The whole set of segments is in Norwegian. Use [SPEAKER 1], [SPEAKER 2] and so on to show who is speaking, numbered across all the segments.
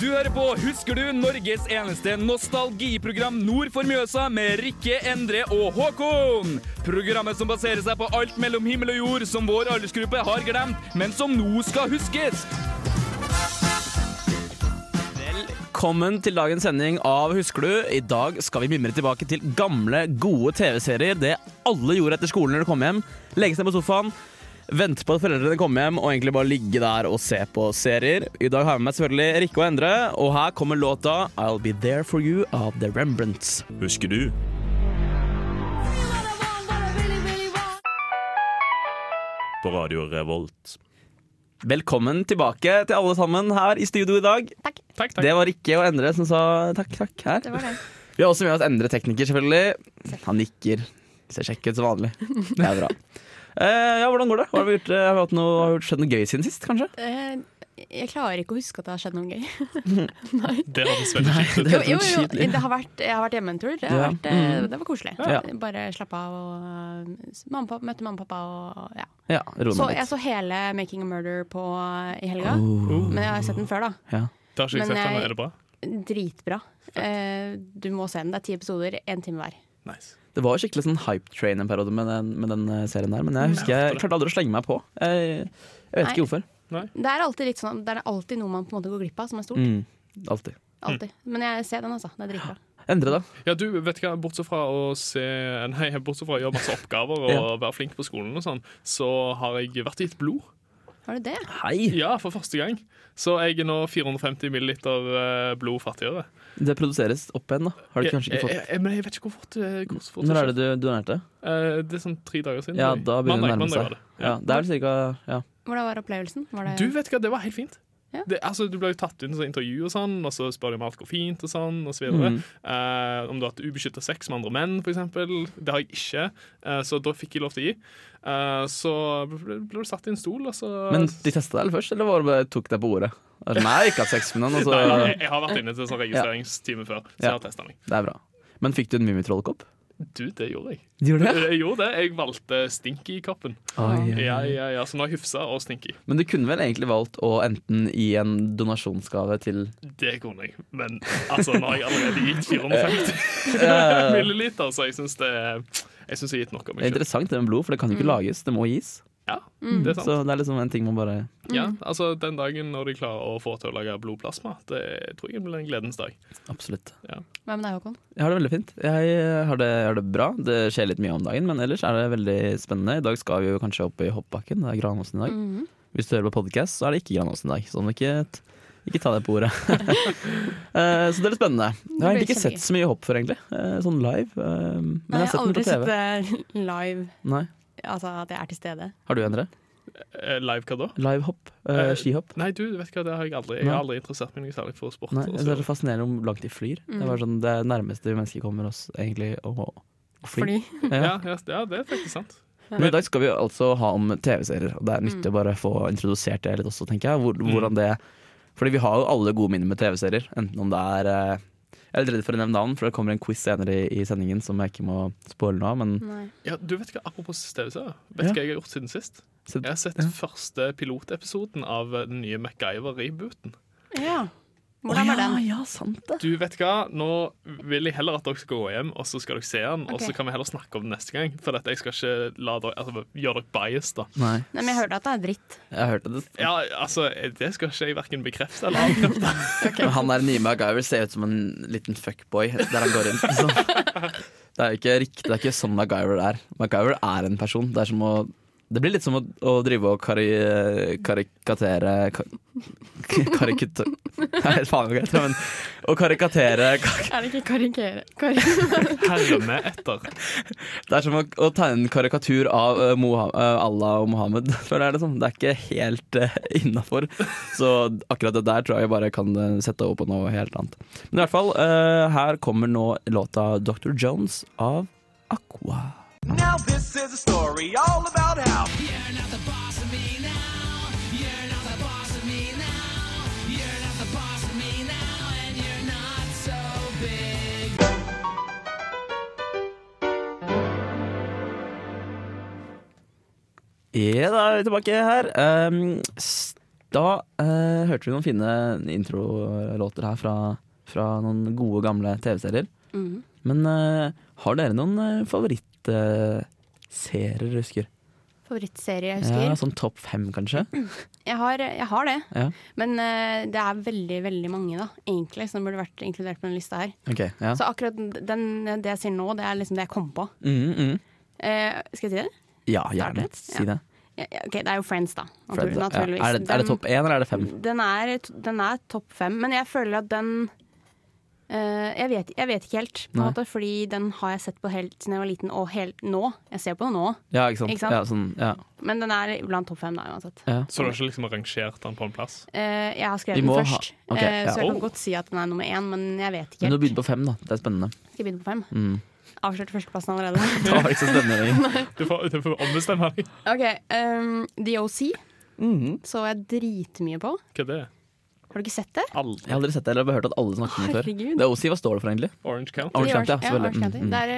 [SPEAKER 1] Du hører på Husker du? Norges eneste nostalgiprogram nord for Mjøsa med Rikke, Endre og Håkon. Programmet som baserer seg på alt mellom himmel og jord som vår aldersgruppe har glemt, men som nå skal huskes.
[SPEAKER 2] Velkommen til dagens sending av Husker du? I dag skal vi mimre tilbake til gamle, gode TV-serier. Det alle gjorde etter skolen når de kom hjem. Legge seg på sofaen, vente på at foreldrene kom hjem, og egentlig bare ligge der og se på serier. I dag har jeg med meg selvfølgelig Rikke og Endre, og her kommer låta I'll Be There For You av The Rembrandts.
[SPEAKER 3] Husker du? På Radio Revolt.
[SPEAKER 2] Velkommen tilbake til alle sammen her i studio i dag.
[SPEAKER 4] Takk.
[SPEAKER 1] Takk,
[SPEAKER 2] Det var Rikke og Endre som sa takk, takk her.
[SPEAKER 4] Det var det.
[SPEAKER 2] Vi har også med oss Endre tekniker, selvfølgelig. Han nikker. Ser kjekk ut som vanlig. Det er bra. Eh, ja, hvordan går det? Har vi gjort, eh, har vi hatt noe, har vi gjort skjedd noe gøy siden sist, kanskje?
[SPEAKER 4] Eh, Jeg klarer ikke å huske at det har skjedd noe gøy.
[SPEAKER 3] Det hadde veldig kjipt.
[SPEAKER 2] Det
[SPEAKER 4] Jo,
[SPEAKER 2] høres
[SPEAKER 4] jo, jo.
[SPEAKER 2] litt kjipt ut.
[SPEAKER 4] Det har vært, jeg har vært hjemme en tur. Det, har
[SPEAKER 2] Ja. Mm.
[SPEAKER 4] vært, eh, det var koselig.
[SPEAKER 2] Ja.
[SPEAKER 4] Bare slappe av og eh, s- mamma, og pappa, møtte mamma og pappa og ja.
[SPEAKER 2] Ja, ro
[SPEAKER 4] Så
[SPEAKER 2] deg
[SPEAKER 4] jeg
[SPEAKER 2] litt.
[SPEAKER 4] så hele 'Making a Murder' på i helga.
[SPEAKER 2] Oh,
[SPEAKER 4] Men jeg har sett den før, da.
[SPEAKER 2] ja.
[SPEAKER 3] Det har ikke jeg
[SPEAKER 4] Men
[SPEAKER 3] sett ennå.
[SPEAKER 4] jeg-
[SPEAKER 3] Er det bra?
[SPEAKER 4] Dritbra. Eh, Du må se den. Det er ti episoder, én time hver.
[SPEAKER 3] Nice.
[SPEAKER 2] Det var jo skikkelig sånn hype train en periode med den, med den eh, serien der, men jeg husker jeg klarte aldri å slenge meg på. Jeg, jeg vet
[SPEAKER 4] Nei.
[SPEAKER 2] ikke hvorfor.
[SPEAKER 4] Det er alltid litt sånn Det er alltid noe man på en måte går glipp av, som er stort.
[SPEAKER 2] Mm, alltid.
[SPEAKER 4] Alltid. Men jeg ser den, altså. Det er dritbra.
[SPEAKER 2] Endre, da?
[SPEAKER 3] Ja, du, vet du hva, bortsett fra å se Nei, bortsett fra å gjøre masse oppgaver og
[SPEAKER 2] Ja.
[SPEAKER 3] være flink på skolen og sånn, så har jeg vært gitt blod.
[SPEAKER 4] Har du det?
[SPEAKER 2] Hei!
[SPEAKER 3] Ja, for første gang. Så jeg er nå 450 milliliter eh, blod fattigere.
[SPEAKER 2] Det produseres opp igjen, da. Har du kanskje ikke
[SPEAKER 3] Jeg,
[SPEAKER 2] fått
[SPEAKER 3] jeg, jeg, men jeg vet ikke hvor fort det hvor fort
[SPEAKER 2] Når er det du donerte?
[SPEAKER 3] Eh, det er sånn tre dager siden.
[SPEAKER 2] Ja,
[SPEAKER 3] tror jeg.
[SPEAKER 2] da begynner det å
[SPEAKER 3] Mandag-
[SPEAKER 2] nærme
[SPEAKER 3] mandag var
[SPEAKER 2] seg.
[SPEAKER 3] det.
[SPEAKER 2] Ja, det er vel cirka ja.
[SPEAKER 4] Hvordan var opplevelsen? Var det
[SPEAKER 3] Du vet hva, det var helt fint.
[SPEAKER 4] Ja.
[SPEAKER 3] Det, altså, du ble jo tatt inn i intervju, og sånn Og så spør de om alt går fint, og sånn og så videre.
[SPEAKER 2] Mm.
[SPEAKER 3] Eh, om du har hatt ubeskytta sex med andre menn, f.eks. Det har jeg ikke, eh, så da fikk jeg lov til å gi. Eh, så ble, ble du satt i en stol, og så
[SPEAKER 2] Men de testa deg først, eller var det bare tok deg på ordet? Altså, Nei, jeg har ikke hatt sex med noen. altså. og
[SPEAKER 3] Nei,
[SPEAKER 2] så-
[SPEAKER 3] jeg, jeg har vært inne til en sånn registreringstime før, så jeg
[SPEAKER 2] Ja.
[SPEAKER 3] har testa meg.
[SPEAKER 2] Det er bra. Men fikk du en Mummitroll-kopp?
[SPEAKER 3] Du, det gjorde jeg. Eh,
[SPEAKER 2] Gjorde
[SPEAKER 3] Jeg gjorde det. Jeg valgte Stinky-koppen. Ja, ja, ja, så nå har jeg Hufsa og Stinky.
[SPEAKER 2] Men du kunne vel egentlig valgt å enten gi en donasjonsgave til
[SPEAKER 3] Det kunne jeg. Men altså, nå har jeg allerede gitt 450 milliliter, så jeg syns det Jeg syns jeg har gitt nok av
[SPEAKER 2] Det er
[SPEAKER 3] meg sjøl.
[SPEAKER 2] interessant det med blod, for det kan jo ikke lages, det må gis.
[SPEAKER 3] Ja, det er sant.
[SPEAKER 2] Så det er liksom en ting man bare
[SPEAKER 3] Ja, altså Den dagen når de klarer å få til å lage blodplasma, det tror jeg blir en gledens dag.
[SPEAKER 2] Absolutt.
[SPEAKER 4] Hva med deg, Håkon?
[SPEAKER 2] Jeg har det veldig fint. Jeg eh, har det, har det bra. Det skjer litt mye om dagen, men ellers er det veldig spennende. I dag skal vi jo kanskje opp i hoppbakken. Det er Granåsen i dag.
[SPEAKER 4] Mhm.
[SPEAKER 2] Hvis du hører på podkast, så er det ikke Granåsen i dag. Så du må ikke, ikke ta det på ordet. Eh, så det er litt spennende. Jeg har
[SPEAKER 4] Det
[SPEAKER 2] egentlig
[SPEAKER 4] blir
[SPEAKER 2] ikke sett så mye hopp før, egentlig. Eh, sånn live. eh, men jeg har
[SPEAKER 4] Nei,
[SPEAKER 2] sett den på
[SPEAKER 4] aldri
[SPEAKER 2] TV.
[SPEAKER 4] sett det live,
[SPEAKER 2] Nei.
[SPEAKER 4] altså at jeg er til stede.
[SPEAKER 2] Har du, Endre?
[SPEAKER 3] Eh, Live hva da?
[SPEAKER 2] Live hopp? Eh,
[SPEAKER 3] Eh,
[SPEAKER 2] skihopp?
[SPEAKER 3] Nei, du vet hva, det har jeg aldri. Jeg har aldri interessert meg noe særlig for sport.
[SPEAKER 2] Nei,
[SPEAKER 3] og
[SPEAKER 2] det
[SPEAKER 3] så-
[SPEAKER 2] er så fascinerende hvor langt de flyr. Det er
[SPEAKER 4] Mm.
[SPEAKER 2] bare sånn det nærmeste mennesket kommer oss egentlig å å fly.
[SPEAKER 4] Fordi
[SPEAKER 3] ja, ja, ja, det er faktisk sant.
[SPEAKER 2] Men i dag skal vi jo altså ha om TV-serier, og det er
[SPEAKER 4] Mm.
[SPEAKER 2] nyttig å bare få introdusert det litt også, tenker jeg. Hvor, hvordan det Fordi vi har jo alle gode minner med TV-serier, enten om det er eh, Jeg er litt redd for å nevne navn, for det kommer en quiz senere i, i sendingen som jeg ikke må spoile nå, men
[SPEAKER 4] Nei.
[SPEAKER 3] Ja, du vet hva, Apropos TV-serier, vet du
[SPEAKER 2] Ja.
[SPEAKER 3] hva jeg har gjort siden sist?
[SPEAKER 2] så,
[SPEAKER 3] Jeg har sett første pilotepisoden av eh, den nye MacGyver-rebooten.
[SPEAKER 4] Ja. Hvordan var den?
[SPEAKER 2] Ja, sant det.
[SPEAKER 3] Du vet hva, Nå vil jeg heller at dere skal gå hjem og så skal dere se den, og
[SPEAKER 4] Ok.
[SPEAKER 3] så kan vi heller snakke om den neste gang. For at jeg skal ikke la dere, altså, gjøre dere bias, da.
[SPEAKER 2] Nei,
[SPEAKER 4] Nei, men jeg hørte at det er dritt.
[SPEAKER 2] jeg har hørt det.
[SPEAKER 3] Ja, altså, Det skal ikke jeg verken bekrefte eller avkrefte.
[SPEAKER 2] Men han der nye MacGyver ser ut som en liten fuckboy der han går inn. Så. Det er jo ikke riktig, det er ikke sånn MacGyver er. MacGyver er en person. Det, er som å, det blir litt som å, å drive og kari, karikatere ka, Karikute... Nei, faen hva heter det, men å karikatere ka-
[SPEAKER 4] Er det ikke karikere?
[SPEAKER 3] Herme etter.
[SPEAKER 2] Det er som å, å tegne en karikatur av eh, Moha- eh, Allah og Mohammed, føler jeg det som. Det er ikke helt uh, innafor. Så akkurat det der tror jeg jeg bare kan eh, sette over på noe helt annet. Men i hvert fall, eh, her kommer nå låta Dr. Jones av Aqua.
[SPEAKER 5] Now this is a story all about how
[SPEAKER 2] Ja, da er vi tilbake her. Um, s- Da eh, hørte vi noen fine introlåter her fra, fra noen gode, gamle TV-serier.
[SPEAKER 4] Mhm.
[SPEAKER 2] Men eh, har dere noen eh, favorittserier dere husker?
[SPEAKER 4] Favorittserie jeg husker.
[SPEAKER 2] Ja, sånn topp fem, kanskje?
[SPEAKER 4] Mm. Jeg har, jeg har det,
[SPEAKER 2] Ja.
[SPEAKER 4] men eh, det er veldig veldig mange da, egentlig, som burde vært inkludert på denne lista. her.
[SPEAKER 2] Ok, ja.
[SPEAKER 4] Så akkurat den, det jeg sier nå, det er liksom det jeg kom på.
[SPEAKER 2] Mm, mm.
[SPEAKER 4] Eh, skal jeg si det?
[SPEAKER 2] ja,
[SPEAKER 4] Starter
[SPEAKER 2] gjerne.
[SPEAKER 4] litt?
[SPEAKER 2] Si det.
[SPEAKER 4] Ja, ja, ok, Det er jo Friends, da.
[SPEAKER 2] Fred, da.
[SPEAKER 4] Natur,
[SPEAKER 2] ja.
[SPEAKER 4] naturligvis. Mm.
[SPEAKER 2] Er, det, er det topp én, eller er det fem?
[SPEAKER 4] Den, den er, den er topp fem, men jeg føler at den eh, jeg, vet, jeg vet ikke helt, på en
[SPEAKER 2] Nei.
[SPEAKER 4] måte, fordi den har jeg sett på helt siden jeg var liten, og helt nå. Jeg ser på den nå,
[SPEAKER 2] Ja, ikke sant?
[SPEAKER 4] Ikke sant?
[SPEAKER 2] Ja, sånn, ja.
[SPEAKER 4] men den er blant topp fem da, uansett.
[SPEAKER 2] Ja.
[SPEAKER 3] Så du har ikke liksom rangert den på en plass?
[SPEAKER 4] Eh, jeg har
[SPEAKER 2] Vi
[SPEAKER 4] skrevet den
[SPEAKER 2] må ha-
[SPEAKER 4] først,
[SPEAKER 2] ok,
[SPEAKER 4] eh,
[SPEAKER 2] ja.
[SPEAKER 4] så jeg
[SPEAKER 3] Oh.
[SPEAKER 4] kan godt si at den er nummer én, men jeg vet ikke
[SPEAKER 2] Men du
[SPEAKER 4] helt.
[SPEAKER 2] begynte på fem, da. Det er spennende.
[SPEAKER 4] Skal jeg begynne på fem?
[SPEAKER 2] Mm.
[SPEAKER 4] Avslørte førsteplassen allerede.
[SPEAKER 2] Det var ikke så spennende lenger.
[SPEAKER 3] Du får, du får ombestemme deg.
[SPEAKER 4] ok, um, DOC
[SPEAKER 2] Mm-hmm.
[SPEAKER 4] så jeg dritmye på.
[SPEAKER 3] Hva er det?
[SPEAKER 4] Har du ikke sett det?
[SPEAKER 2] Jeg
[SPEAKER 3] Aldri.
[SPEAKER 2] har aldri sett det, eller jeg har bare hørt at alle snakker om det før.
[SPEAKER 4] Herregud.
[SPEAKER 2] Det er OC, hva står det for egentlig?
[SPEAKER 3] Orange County.
[SPEAKER 2] Orange County, ja,
[SPEAKER 4] ja,
[SPEAKER 2] selvfølgelig.
[SPEAKER 4] Orange County.
[SPEAKER 2] Mm, mm.
[SPEAKER 4] Det er eh,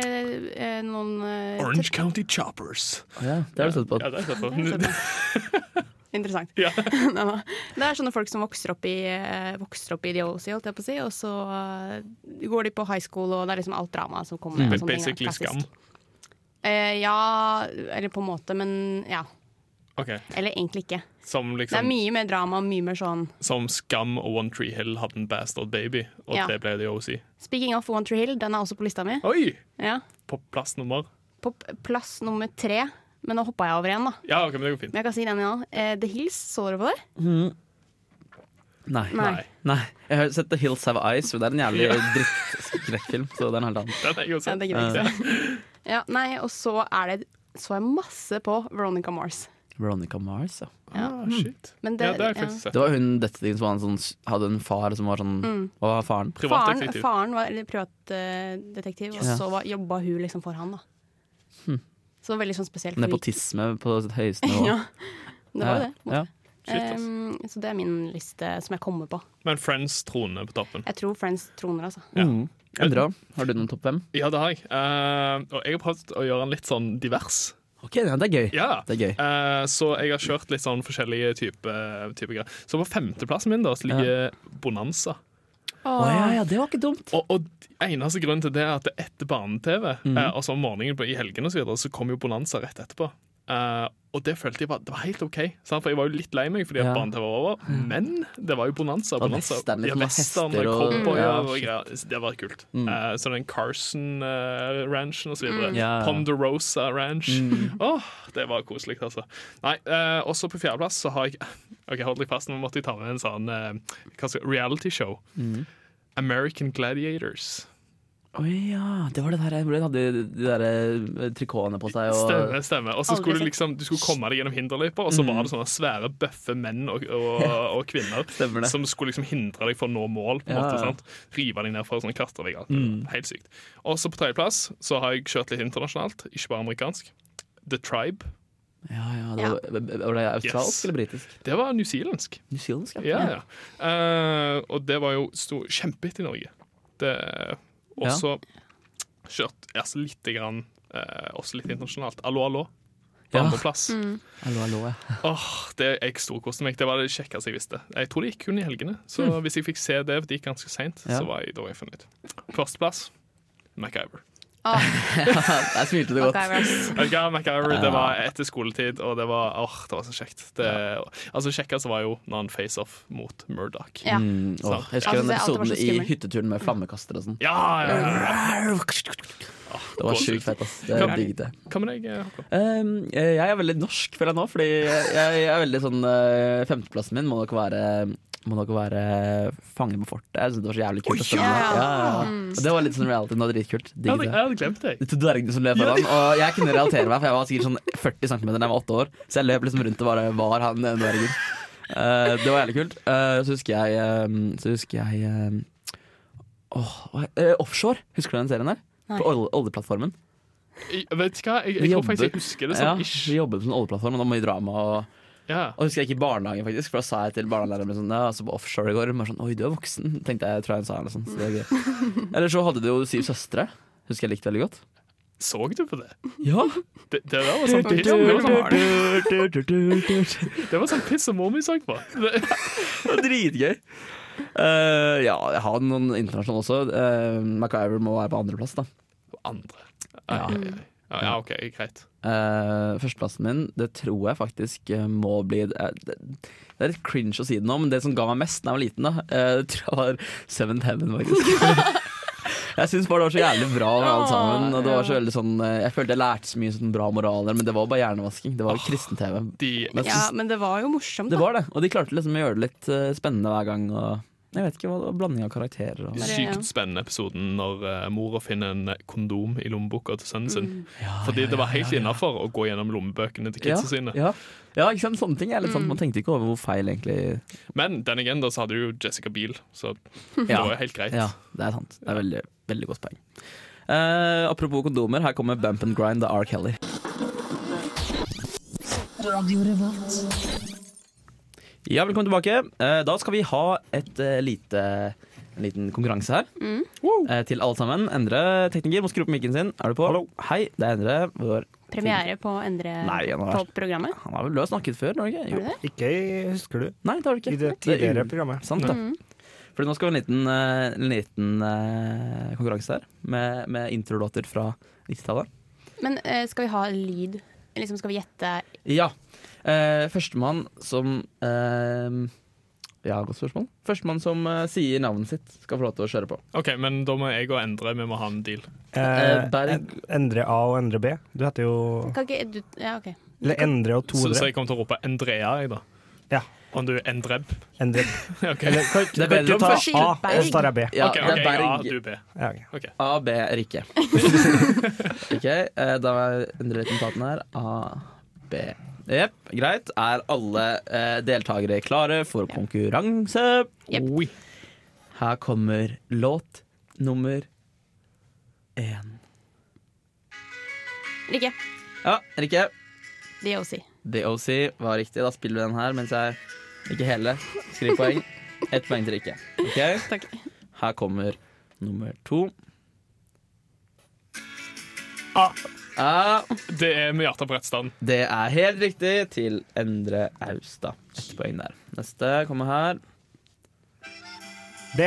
[SPEAKER 4] eh, noen eh,
[SPEAKER 3] Orange County Choppers.
[SPEAKER 2] Å ja, det har du sett på.
[SPEAKER 3] Ja, det har jeg sett på.
[SPEAKER 4] sånn. Interessant.
[SPEAKER 3] Ja.
[SPEAKER 4] Nei, nei. det er sånne folk som vokser opp i, eh, vokser opp i DOC, holdt jeg på å si, og så eh, går de på high school, og det er liksom alt dramaet som kommer. og
[SPEAKER 3] Men
[SPEAKER 4] sånne ting, da.
[SPEAKER 3] Mm. basically
[SPEAKER 4] Klassisk.
[SPEAKER 3] skam.
[SPEAKER 4] Eh, ja, eller på en måte, men ja.
[SPEAKER 3] Ok,
[SPEAKER 4] Eller egentlig ikke.
[SPEAKER 3] Som,
[SPEAKER 4] Det er
[SPEAKER 3] liksom,
[SPEAKER 4] mye mer drama, mye mer sånn
[SPEAKER 3] som Skam og One Tree Hill hadde en bastard baby, og
[SPEAKER 4] Ja.
[SPEAKER 3] det ble det jo også i.
[SPEAKER 4] Speaking of One Tree Hill, den er også på lista mi.
[SPEAKER 3] Oi!
[SPEAKER 4] Ja.
[SPEAKER 3] På plass nummer
[SPEAKER 4] På p- plass nummer tre, men nå hoppa jeg over igjen, da.
[SPEAKER 3] Ja, ok, men det går fint.
[SPEAKER 4] Men jeg kan si den igjen. Eh, The Hills, så dere på det?
[SPEAKER 2] Nei.
[SPEAKER 4] Nei.
[SPEAKER 3] Nei.
[SPEAKER 2] Nei. Jeg har sett The Hills Have Eyes, og det er en jævlig drittskrekkfilm. Så det er en helt annen.
[SPEAKER 3] Den er jeg også.
[SPEAKER 4] Ja, det gidder jeg ikke. Ja, nei, og så er det så jeg masse på Veronica Mars.
[SPEAKER 2] Veronica Mars, ja.
[SPEAKER 3] Ah, shit.
[SPEAKER 4] Men
[SPEAKER 3] Ja,
[SPEAKER 4] det-
[SPEAKER 3] det har jeg
[SPEAKER 4] ja.
[SPEAKER 3] faktisk sett.
[SPEAKER 2] Det var hun detektiven som var en sånn, hadde en far som var sånn
[SPEAKER 4] Mm.
[SPEAKER 2] Hva var faren?
[SPEAKER 3] Privat
[SPEAKER 4] Faren,
[SPEAKER 3] detektiv.
[SPEAKER 4] faren var privatdetektiv, og så var, jobba hun liksom for han, da. Så det var veldig sånn spesielt. for
[SPEAKER 2] Nepotisme Hm. på sitt høyeste
[SPEAKER 4] vi-
[SPEAKER 2] nivå.
[SPEAKER 4] ja, det var jo det.
[SPEAKER 2] Ja.
[SPEAKER 3] Shit, ass.
[SPEAKER 4] Ehm, så det er min liste som jeg kommer på.
[SPEAKER 3] Men Friends troner på toppen.
[SPEAKER 4] Jeg tror Friends troner, altså.
[SPEAKER 3] Ja.
[SPEAKER 2] Mm. Endra, har du noen topp fem?
[SPEAKER 3] Ja, det har jeg. Eh, og jeg har prøvd å gjøre den litt sånn divers.
[SPEAKER 2] Ok, ja, det er gøy.
[SPEAKER 3] Ja.
[SPEAKER 2] Det er gøy.
[SPEAKER 3] Eh, så jeg har kjørt litt sånn forskjellige typer type greier. Så på femteplassen min da, så ligger Bonanza.
[SPEAKER 2] Å ja, ja, det var ikke dumt.
[SPEAKER 3] Og, og eneste grunnen til det er at etter barne-TV,
[SPEAKER 2] Mm.
[SPEAKER 3] eh, altså om morgenen på, i helgene og så, videre, så kom jo Bonanza rett etterpå. Eh, og det følte jeg var, det var helt OK, sant? for jeg var jo litt lei meg fordi at
[SPEAKER 2] Ja. Mm.
[SPEAKER 3] barne-TV var over. Men det var jo Bonanza.
[SPEAKER 2] var
[SPEAKER 3] bonanza.
[SPEAKER 2] western, litt
[SPEAKER 3] Ja,
[SPEAKER 2] med
[SPEAKER 3] western
[SPEAKER 2] hester og-
[SPEAKER 3] cowboyer
[SPEAKER 2] Ja,
[SPEAKER 3] og
[SPEAKER 2] shit.
[SPEAKER 3] greier. Så Det var kult. Eh, så den Carson-ranchen og så videre.
[SPEAKER 2] Ja, ja.
[SPEAKER 3] Ponderosa Ranch. Åh, det var koselig, altså. Nei, eh, også på fjerdeplass så har jeg OK, hold deg fast, nå måtte jeg ta med en sånn eh, hva skal- reality show. American Gladiators.
[SPEAKER 2] Å ja, det var det der hvor de hadde de der eh, trikotene på seg. Og,
[SPEAKER 3] Stemme, stemme. Og så
[SPEAKER 4] Aldri
[SPEAKER 3] skulle du
[SPEAKER 4] sett.
[SPEAKER 3] liksom Du skulle komme deg gjennom hinderløyper, og så var det sånne svære bøffe menn og, og, og
[SPEAKER 2] Stemmer
[SPEAKER 3] kvinner
[SPEAKER 2] det.
[SPEAKER 3] som skulle liksom hindre deg fra å nå mål. På en
[SPEAKER 2] Ja,
[SPEAKER 3] måte,
[SPEAKER 2] ja. Mm.
[SPEAKER 3] sant? Rive deg ned fra sånne klatrevegger. Helt sykt. Og så på tredjeplass så har jeg kjørt litt internasjonalt, ikke bare amerikansk. The Tribe.
[SPEAKER 2] ja, ja, det var, var det australsk
[SPEAKER 3] Yes.
[SPEAKER 2] eller britisk?
[SPEAKER 3] Det var newzealandsk.
[SPEAKER 2] Newzealandsk,
[SPEAKER 3] Ja, ja. Eh, og det var jo stor kjempehit i Norge. Det
[SPEAKER 2] Ja.
[SPEAKER 3] også kjørt altså, lite grann eh, også litt internasjonalt. Allo, allo. På
[SPEAKER 2] Ja.
[SPEAKER 3] andreplass.
[SPEAKER 2] Hallo, hallo, ja.
[SPEAKER 3] Åh, det Jeg storkoste meg. Det var det kjekkeste jeg visste. Jeg tror det gikk kun i helgene. Så hvis jeg fikk se det, for det gikk ganske seint,
[SPEAKER 2] Hmm.
[SPEAKER 3] så
[SPEAKER 2] Ja.
[SPEAKER 3] var jeg, da var jeg fornøyd. Førsteplass MacGyver.
[SPEAKER 2] Der smilte det godt.
[SPEAKER 4] MacGyver, ass.
[SPEAKER 3] Vet du hva, MacGyver det var etter skoletid, og det var åh, det var så kjekt. Det, altså Kjekkest var jo når han face-off mot Murdoch.
[SPEAKER 4] Ja.
[SPEAKER 2] Mm, åh,
[SPEAKER 3] Sant.
[SPEAKER 2] jeg husker
[SPEAKER 4] Altså,
[SPEAKER 2] den
[SPEAKER 4] det- alt var så
[SPEAKER 2] episoden i
[SPEAKER 4] skummelt.
[SPEAKER 2] hytteturen med flammekaster og sånn.
[SPEAKER 3] Ja, ja, ja.
[SPEAKER 2] Det var sjukt fett, ass. Det
[SPEAKER 3] Kan-
[SPEAKER 2] digget jeg.
[SPEAKER 3] Hva med deg, Håkon?
[SPEAKER 2] Um, eh, jeg er veldig norsk, føler jeg nå, fordi jeg, jeg er veldig sånn eh, Femteplassen min må nok være må nok være Fange på fortet. Jeg synes det var så jævlig kult. å stemme
[SPEAKER 4] ja!
[SPEAKER 2] der. Ja, ja. Og Det var litt sånn reality. Det var dritkult.
[SPEAKER 3] Jeg hadde,
[SPEAKER 2] Digget
[SPEAKER 3] jeg
[SPEAKER 2] det.
[SPEAKER 3] hadde glemt deg.
[SPEAKER 2] De to dvergene som løp foran. Og jeg kunne relatere meg, for jeg var sikkert sånn 40 cm da jeg var åtte år. Så jeg løp liksom rundt og bare var han ene dvergen. Eh, det var jævlig kult. Eh, så husker jeg eh, Så husker jeg eh, åh, hva- eh, Offshore. Husker du den serien der?
[SPEAKER 4] Nei.
[SPEAKER 2] På olje- oljeplattformen.
[SPEAKER 3] Jeg, vet du hva, jeg,
[SPEAKER 2] Vi
[SPEAKER 3] jeg tror faktisk jeg
[SPEAKER 2] jobbet-
[SPEAKER 3] husker det
[SPEAKER 2] Ja,
[SPEAKER 3] sånn ish.
[SPEAKER 2] vi jobbet på en oljeplattform, og da må vi drama. Og,
[SPEAKER 3] Ja.
[SPEAKER 2] og husker jeg gikk i barnehagen, faktisk, for da sa jeg til barnehagelæreren min sånn, ja, altså på offshore i går hun var sånn, Oi, du er voksen, tenkte jeg, tror jeg hun sa. Eller, sånn, så det var gøy. eller så hadde du jo Syv søstre. Husker jeg likte veldig godt.
[SPEAKER 3] Så du på det?
[SPEAKER 2] Ja.
[SPEAKER 3] Det, det der var sånn piss Det var sånn, det var sånn piss som mor mi sang på. Det,
[SPEAKER 2] Dritgøy. Eh, ja, jeg har noen internasjonale også. Eh, MacGyver må være på andreplass, da.
[SPEAKER 3] andre. Ai,
[SPEAKER 2] Ja.
[SPEAKER 3] ai, ai. Ja, ja, OK, greit.
[SPEAKER 2] Eh, førsteplassen min, det tror jeg faktisk eh, må bli eh, det, det er litt cringe å si det nå, men det som ga meg mest da jeg var liten, da, eh, det tror jeg var Seventh Heaven, faktisk. jeg syns bare det var så jævlig bra med alt sammen. Og det var så veldig sånn eh, Jeg følte jeg lærte så mye sånn bra moraler, men det var bare hjernevasking. Det var kristen-TV.
[SPEAKER 3] De,
[SPEAKER 2] Men jeg
[SPEAKER 4] Ja,
[SPEAKER 2] synes
[SPEAKER 4] men det var jo morsomt,
[SPEAKER 2] det
[SPEAKER 4] da.
[SPEAKER 2] var det, og de klarte liksom å gjøre det litt eh, spennende hver gang. Og jeg vet ikke hva det var, blanding av karakterer og
[SPEAKER 4] Bare-
[SPEAKER 3] sykt spennende episoden når eh, mora finner en kondom i lommeboka til sønnen sin.
[SPEAKER 4] Mm.
[SPEAKER 2] Ja,
[SPEAKER 3] Fordi
[SPEAKER 2] ja,
[SPEAKER 3] det var
[SPEAKER 2] ja,
[SPEAKER 3] helt
[SPEAKER 2] ja, ja.
[SPEAKER 3] innafor å gå gjennom lommebøkene til kidsa sine.
[SPEAKER 2] Ja, ja, ikke sant? Sånne ting er litt sånn Man tenkte ikke over hvor feil egentlig
[SPEAKER 3] Men den igjen da så hadde du jo Jessica Biel, så det
[SPEAKER 2] Ja.
[SPEAKER 3] var jo helt greit.
[SPEAKER 2] Ja, det er sant. Det er veldig, veldig godt poeng. Eh, apropos kondomer, her kommer Bump and Grind av R. Kelly. Ja, velkommen tilbake. Eh, da skal vi ha et eh, lite en liten konkurranse her. Eh, til alle sammen. Endre, tekniker, må skru på mikken sin. Er du på? Hei, det er Endre. Vår.
[SPEAKER 4] Premiere på Endre
[SPEAKER 2] Nei, han har
[SPEAKER 4] på
[SPEAKER 2] vært-
[SPEAKER 4] programmet.
[SPEAKER 2] Han har vel du har snakket før? Norge?
[SPEAKER 4] Har du det?
[SPEAKER 6] Ikke husker du.
[SPEAKER 2] Nei, det har du ikke.
[SPEAKER 6] I det
[SPEAKER 2] er
[SPEAKER 6] tidligere
[SPEAKER 2] ul-
[SPEAKER 6] programmet.
[SPEAKER 2] Sant, da. Fordi nå skal vi ha en liten, eh, en liten eh, konkurranse her, med, med introlåter fra 90-tallet.
[SPEAKER 4] Men eh, skal vi ha lyd? Liksom skal vi gjette
[SPEAKER 2] Ja. Eh, Førstemann som eh, Ja, godt spørsmål. Førstemann som eh, sier navnet sitt, skal få lov til å kjøre på.
[SPEAKER 3] OK, men da må jeg og Endre vi må ha en deal.
[SPEAKER 2] Eh,
[SPEAKER 6] Eh,
[SPEAKER 2] Berg-
[SPEAKER 6] en- Endre A og Endre B. Du heter jo
[SPEAKER 4] Kan ikke du Ja, OK.
[SPEAKER 6] Eller Endre og
[SPEAKER 3] Så, så
[SPEAKER 6] 200.
[SPEAKER 3] jeg kommer til å rope Endrea, jeg, da.
[SPEAKER 6] Ja.
[SPEAKER 3] Om du er Endreb.
[SPEAKER 6] Endre.
[SPEAKER 3] OK,
[SPEAKER 6] Eller kan,
[SPEAKER 2] er
[SPEAKER 6] kan
[SPEAKER 2] bedre
[SPEAKER 6] ikke
[SPEAKER 2] å
[SPEAKER 6] du ta
[SPEAKER 2] ta
[SPEAKER 6] A, og så tar jeg B.
[SPEAKER 2] Ja,
[SPEAKER 3] OK,
[SPEAKER 2] det
[SPEAKER 3] ok,
[SPEAKER 2] er
[SPEAKER 3] ja,
[SPEAKER 2] Berg
[SPEAKER 3] du B.
[SPEAKER 6] Ja, ok.
[SPEAKER 2] A, B, Rikke. ok, eh, da endrer resultatene her. A, B. Jepp, greit. Er alle eh, deltakere klare for konkurranse?
[SPEAKER 4] Jepp.
[SPEAKER 2] Oi. Her kommer låt nummer én.
[SPEAKER 4] Rikke.
[SPEAKER 2] Ja, Rikke.
[SPEAKER 4] Det er også.
[SPEAKER 2] DOC var riktig. Da spiller vi den her mens jeg Ikke hele. Skriv poeng. Ett poeng til Rikke. Ok?
[SPEAKER 4] Takk.
[SPEAKER 2] Her kommer nummer to.
[SPEAKER 3] Ah,
[SPEAKER 2] Ah,
[SPEAKER 3] det er med hjertet på rett stand.
[SPEAKER 2] det er helt riktig til Endre Austad. Ett poeng der. Neste kommer her.
[SPEAKER 6] B.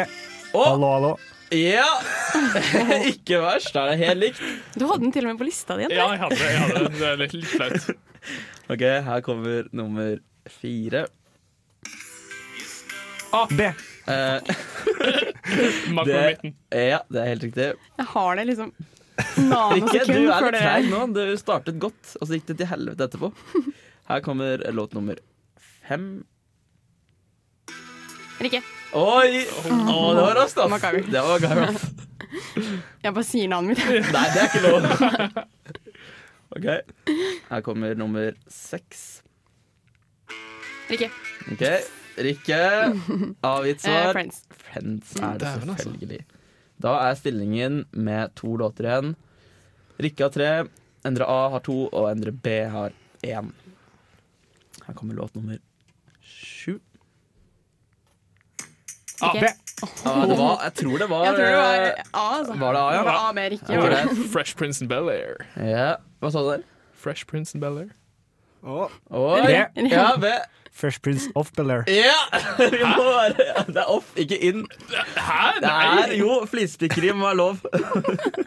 [SPEAKER 2] Å!
[SPEAKER 6] Hallo, hallo.
[SPEAKER 2] Ja! ikke verst. Da er det helt likt.
[SPEAKER 4] Du hadde den til og med på lista di.
[SPEAKER 3] Ja, jeg hadde det. Jeg hadde det. det. er litt, litt flaut.
[SPEAKER 2] Ok, her kommer nummer fire.
[SPEAKER 6] B.
[SPEAKER 2] Eh,
[SPEAKER 3] Mark på
[SPEAKER 2] det,
[SPEAKER 3] midten.
[SPEAKER 2] ja, det er helt riktig.
[SPEAKER 4] Jeg har det liksom
[SPEAKER 2] Rikke, du
[SPEAKER 4] nanosekund
[SPEAKER 2] er
[SPEAKER 4] før
[SPEAKER 2] litt
[SPEAKER 4] dere
[SPEAKER 2] treig nå. Du startet godt, og så gikk det til helvete etterpå. Her kommer låt nummer fem.
[SPEAKER 4] Rikke.
[SPEAKER 2] Oi! Å, det var raskt, ass.
[SPEAKER 4] MacGyver.
[SPEAKER 2] Det var MacGyver. ass.
[SPEAKER 4] Jeg bare sier navnet mitt.
[SPEAKER 2] Nei, det er ikke lov. OK. Her kommer nummer seks.
[SPEAKER 4] Rikke.
[SPEAKER 2] OK. Rikke, avgitt
[SPEAKER 4] Eh,
[SPEAKER 2] svar.
[SPEAKER 4] friends.
[SPEAKER 2] Friends er det
[SPEAKER 3] Dæven, altså.
[SPEAKER 2] selvfølgelig. Da er stillingen med to låter igjen. Rikke har tre, Endre A har to, og Endre B har én. Her kommer låt nummer sju.
[SPEAKER 3] Ah,
[SPEAKER 4] Rikke.
[SPEAKER 3] B.
[SPEAKER 2] Ah, det var, jeg tror det var
[SPEAKER 4] Jeg tror det var A, altså.
[SPEAKER 2] eh, Var det A, ja?
[SPEAKER 4] Det var A med Rikke.
[SPEAKER 2] Ja.
[SPEAKER 4] var det.
[SPEAKER 3] Fresh Prince in Bel-Air.
[SPEAKER 2] Ja, Hva sa du der?
[SPEAKER 3] Fresh Prince in Bel-Air.
[SPEAKER 2] Oi.
[SPEAKER 6] B.
[SPEAKER 2] Ja, B.
[SPEAKER 6] First Prince of Bel-Air.
[SPEAKER 2] Ja! Vi må være Det er off, ikke inn.
[SPEAKER 3] Hæ?
[SPEAKER 2] Det er
[SPEAKER 3] Nei!
[SPEAKER 2] jo flispikkeri må være lov.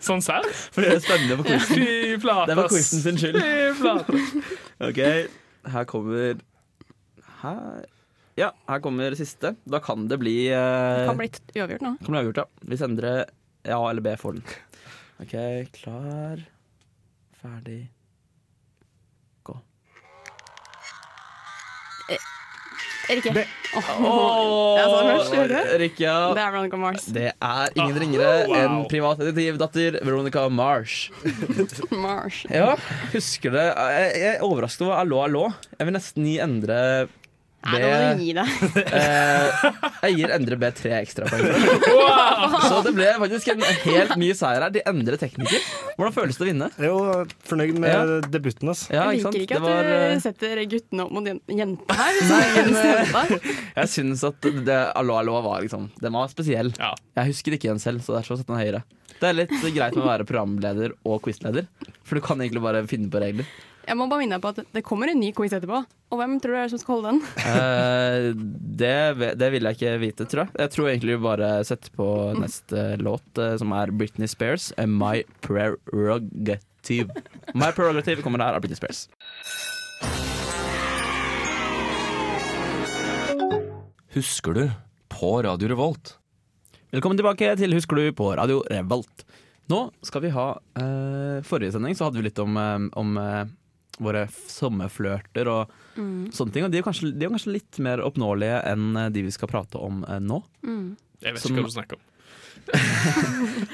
[SPEAKER 3] Sånn serr?
[SPEAKER 2] For det er spennende på quizen.
[SPEAKER 3] Fy flate.
[SPEAKER 2] Det var
[SPEAKER 3] ass.
[SPEAKER 2] quizen sin skyld.
[SPEAKER 3] Fy flate.
[SPEAKER 2] Ok, her kommer Her Ja, her kommer siste. Da kan det bli eh,
[SPEAKER 4] Kan bli t- uavgjort nå.
[SPEAKER 2] Kan bli avgjort, ja. Hvis Endre ja eller B får den. OK, klar, ferdig
[SPEAKER 4] Rikke.
[SPEAKER 6] B.
[SPEAKER 4] Åh,
[SPEAKER 2] Åh,
[SPEAKER 4] jeg sa det først, gjorde jeg det?
[SPEAKER 2] Rikke,
[SPEAKER 4] Det
[SPEAKER 2] ja.
[SPEAKER 4] er Veronica Mars.
[SPEAKER 2] Det er ingen
[SPEAKER 3] Ah,
[SPEAKER 2] ringere
[SPEAKER 3] wow.
[SPEAKER 2] enn privatdetektivdatter Veronica Marsh.
[SPEAKER 4] Mars.
[SPEAKER 2] Ja, husker det. Jeg jeg er overrasket over Allo Allo. Jeg vil nesten gi Endre
[SPEAKER 4] Nei, nå må du gi deg.
[SPEAKER 7] Eh, jeg gir Endre B tre ekstrapoeng. Så det ble faktisk en helt ny seier her. De endrer teknikker. Hvordan føles det å vinne?
[SPEAKER 6] Jeg er jo fornøyd med
[SPEAKER 7] Ja.
[SPEAKER 6] debuten. ass.
[SPEAKER 7] Ja,
[SPEAKER 4] Jeg
[SPEAKER 7] sant?
[SPEAKER 4] liker
[SPEAKER 7] Det
[SPEAKER 4] ikke at
[SPEAKER 7] var, eh,
[SPEAKER 4] du setter guttene opp mot jen- jentene her. Hvis du er eneste jenta.
[SPEAKER 7] eh, Jeg syns at det, Allo Allo var liksom Den var spesiell.
[SPEAKER 3] Ja.
[SPEAKER 7] Jeg husker ikke igjen selv, så derfor setter jeg den høyere. Det er litt greit med å være programleder og quizleder, for du kan egentlig bare finne på regler.
[SPEAKER 4] Jeg må bare minne deg på at det kommer en ny quiz etterpå. Og hvem tror du er det som skal holde den?
[SPEAKER 7] Eh, det, ve- det vil jeg ikke vite, tror jeg. Jeg tror egentlig vi bare setter på neste låt, eh, som er Britney Spears, eh, 'My Prerogative'. My Prerogative kommer her av Britney Spears.
[SPEAKER 8] Husker du? På Radio Revolt.
[SPEAKER 2] Velkommen tilbake til Husker du på Radio Revolt. Nå skal vi ha eh, Forrige sending så hadde vi litt om, eh, om eh, våre f- sommerflørter og sånne ting. Og de er, kanskje, de er kanskje litt mer oppnåelige enn eh, de vi skal prate om eh, nå.
[SPEAKER 3] Jeg vet
[SPEAKER 2] Som-
[SPEAKER 3] ikke hva du snakker om.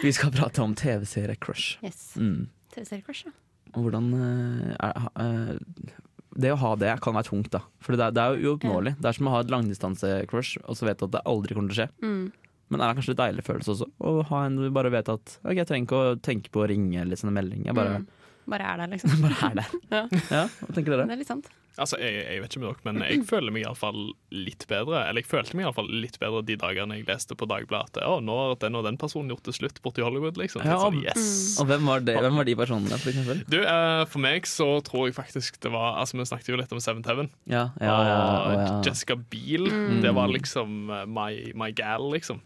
[SPEAKER 2] Vi skal prate om TV-serie-crush.
[SPEAKER 4] Yes.
[SPEAKER 2] Mm.
[SPEAKER 4] TV-seriekurs, ja.
[SPEAKER 2] Og hvordan eh, er, ha- eh, Det å ha det kan være tungt, da. For det, er- det er jo uoppnåelig. Det er som å ha et langdistanse-crush og så vet du at det aldri kommer til å skje.
[SPEAKER 4] Mm.
[SPEAKER 2] Men det er kanskje en deilig følelse også, å ha en du bare vet at Ok, jeg trenger ikke å tenke på å ringe eller sende melding. Jeg bare,
[SPEAKER 4] Mm. Bare er der, liksom.
[SPEAKER 2] bare er der.
[SPEAKER 4] Ja.
[SPEAKER 2] Ja, hva tenker dere?
[SPEAKER 4] Det er litt sant.
[SPEAKER 3] Altså, jeg, jeg vet ikke med dere, men jeg føler meg iallfall litt bedre. Eller jeg følte meg iallfall litt bedre de dagene jeg leste på Dagbladet at å, nå har den og den personen gjort det slutt borti Hollywood, liksom. Litt
[SPEAKER 2] Ja, mm.
[SPEAKER 3] sånn, yes.
[SPEAKER 2] Og hvem var, det, hvem var de personene, for eksempel?
[SPEAKER 3] Du, eh, for meg så tror jeg faktisk det var Altså, vi snakket jo litt om Seventh Heaven.
[SPEAKER 2] Ja, ja, ja,
[SPEAKER 3] og
[SPEAKER 2] å, ja. Mm.
[SPEAKER 3] Jessica Biel. Det var liksom eh, my, my gal, liksom.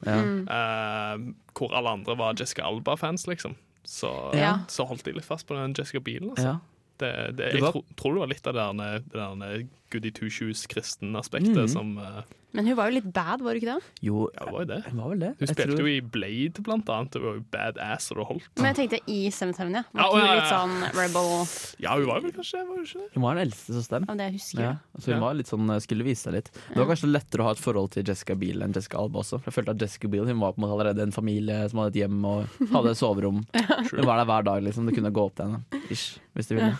[SPEAKER 3] Eh, hvor alle andre var Jessica Alba-fans, liksom. Så,
[SPEAKER 4] Ja.
[SPEAKER 3] så holdt de litt fast på den Jessica Bielen. Altså.
[SPEAKER 2] Ja.
[SPEAKER 3] Det, det,
[SPEAKER 2] Du
[SPEAKER 3] jeg
[SPEAKER 2] var-
[SPEAKER 3] tro, tror det var litt av det derne, det derne goody two shoes-kristen-aspektet
[SPEAKER 2] Mm.
[SPEAKER 3] som eh,
[SPEAKER 4] Men hun var jo litt bad, var hun ikke det?
[SPEAKER 2] Jo,
[SPEAKER 3] Ja, det var jo det.
[SPEAKER 2] hva var vel det?
[SPEAKER 3] Hun
[SPEAKER 2] Jeg
[SPEAKER 3] spilte
[SPEAKER 2] tror-
[SPEAKER 3] jo i Blade, blant annet. Det var jo badass, og det holdt.
[SPEAKER 4] Men jeg tenkte i Seventh-Heaven, ja.
[SPEAKER 3] Ja,
[SPEAKER 4] Var
[SPEAKER 3] ja, ja,
[SPEAKER 4] ikke hun
[SPEAKER 3] ja.
[SPEAKER 4] litt sånn rebel
[SPEAKER 3] Ja, hun var vel kanskje var hun ikke det?
[SPEAKER 2] Hun var den eldste søsteren.
[SPEAKER 4] av det jeg husker?
[SPEAKER 2] Ja, så hun
[SPEAKER 3] Ja.
[SPEAKER 2] var litt sånn, skulle vise seg litt. Det var kanskje lettere å ha et forhold til Jessica Biel enn Jessica Alba også. For Jeg følte at Jessica Biel hun var på en måte allerede en familie som hadde et hjem og hadde et soverom. Hun var der hver dag, liksom. Du kunne gå opp til henne ish, hvis du ville.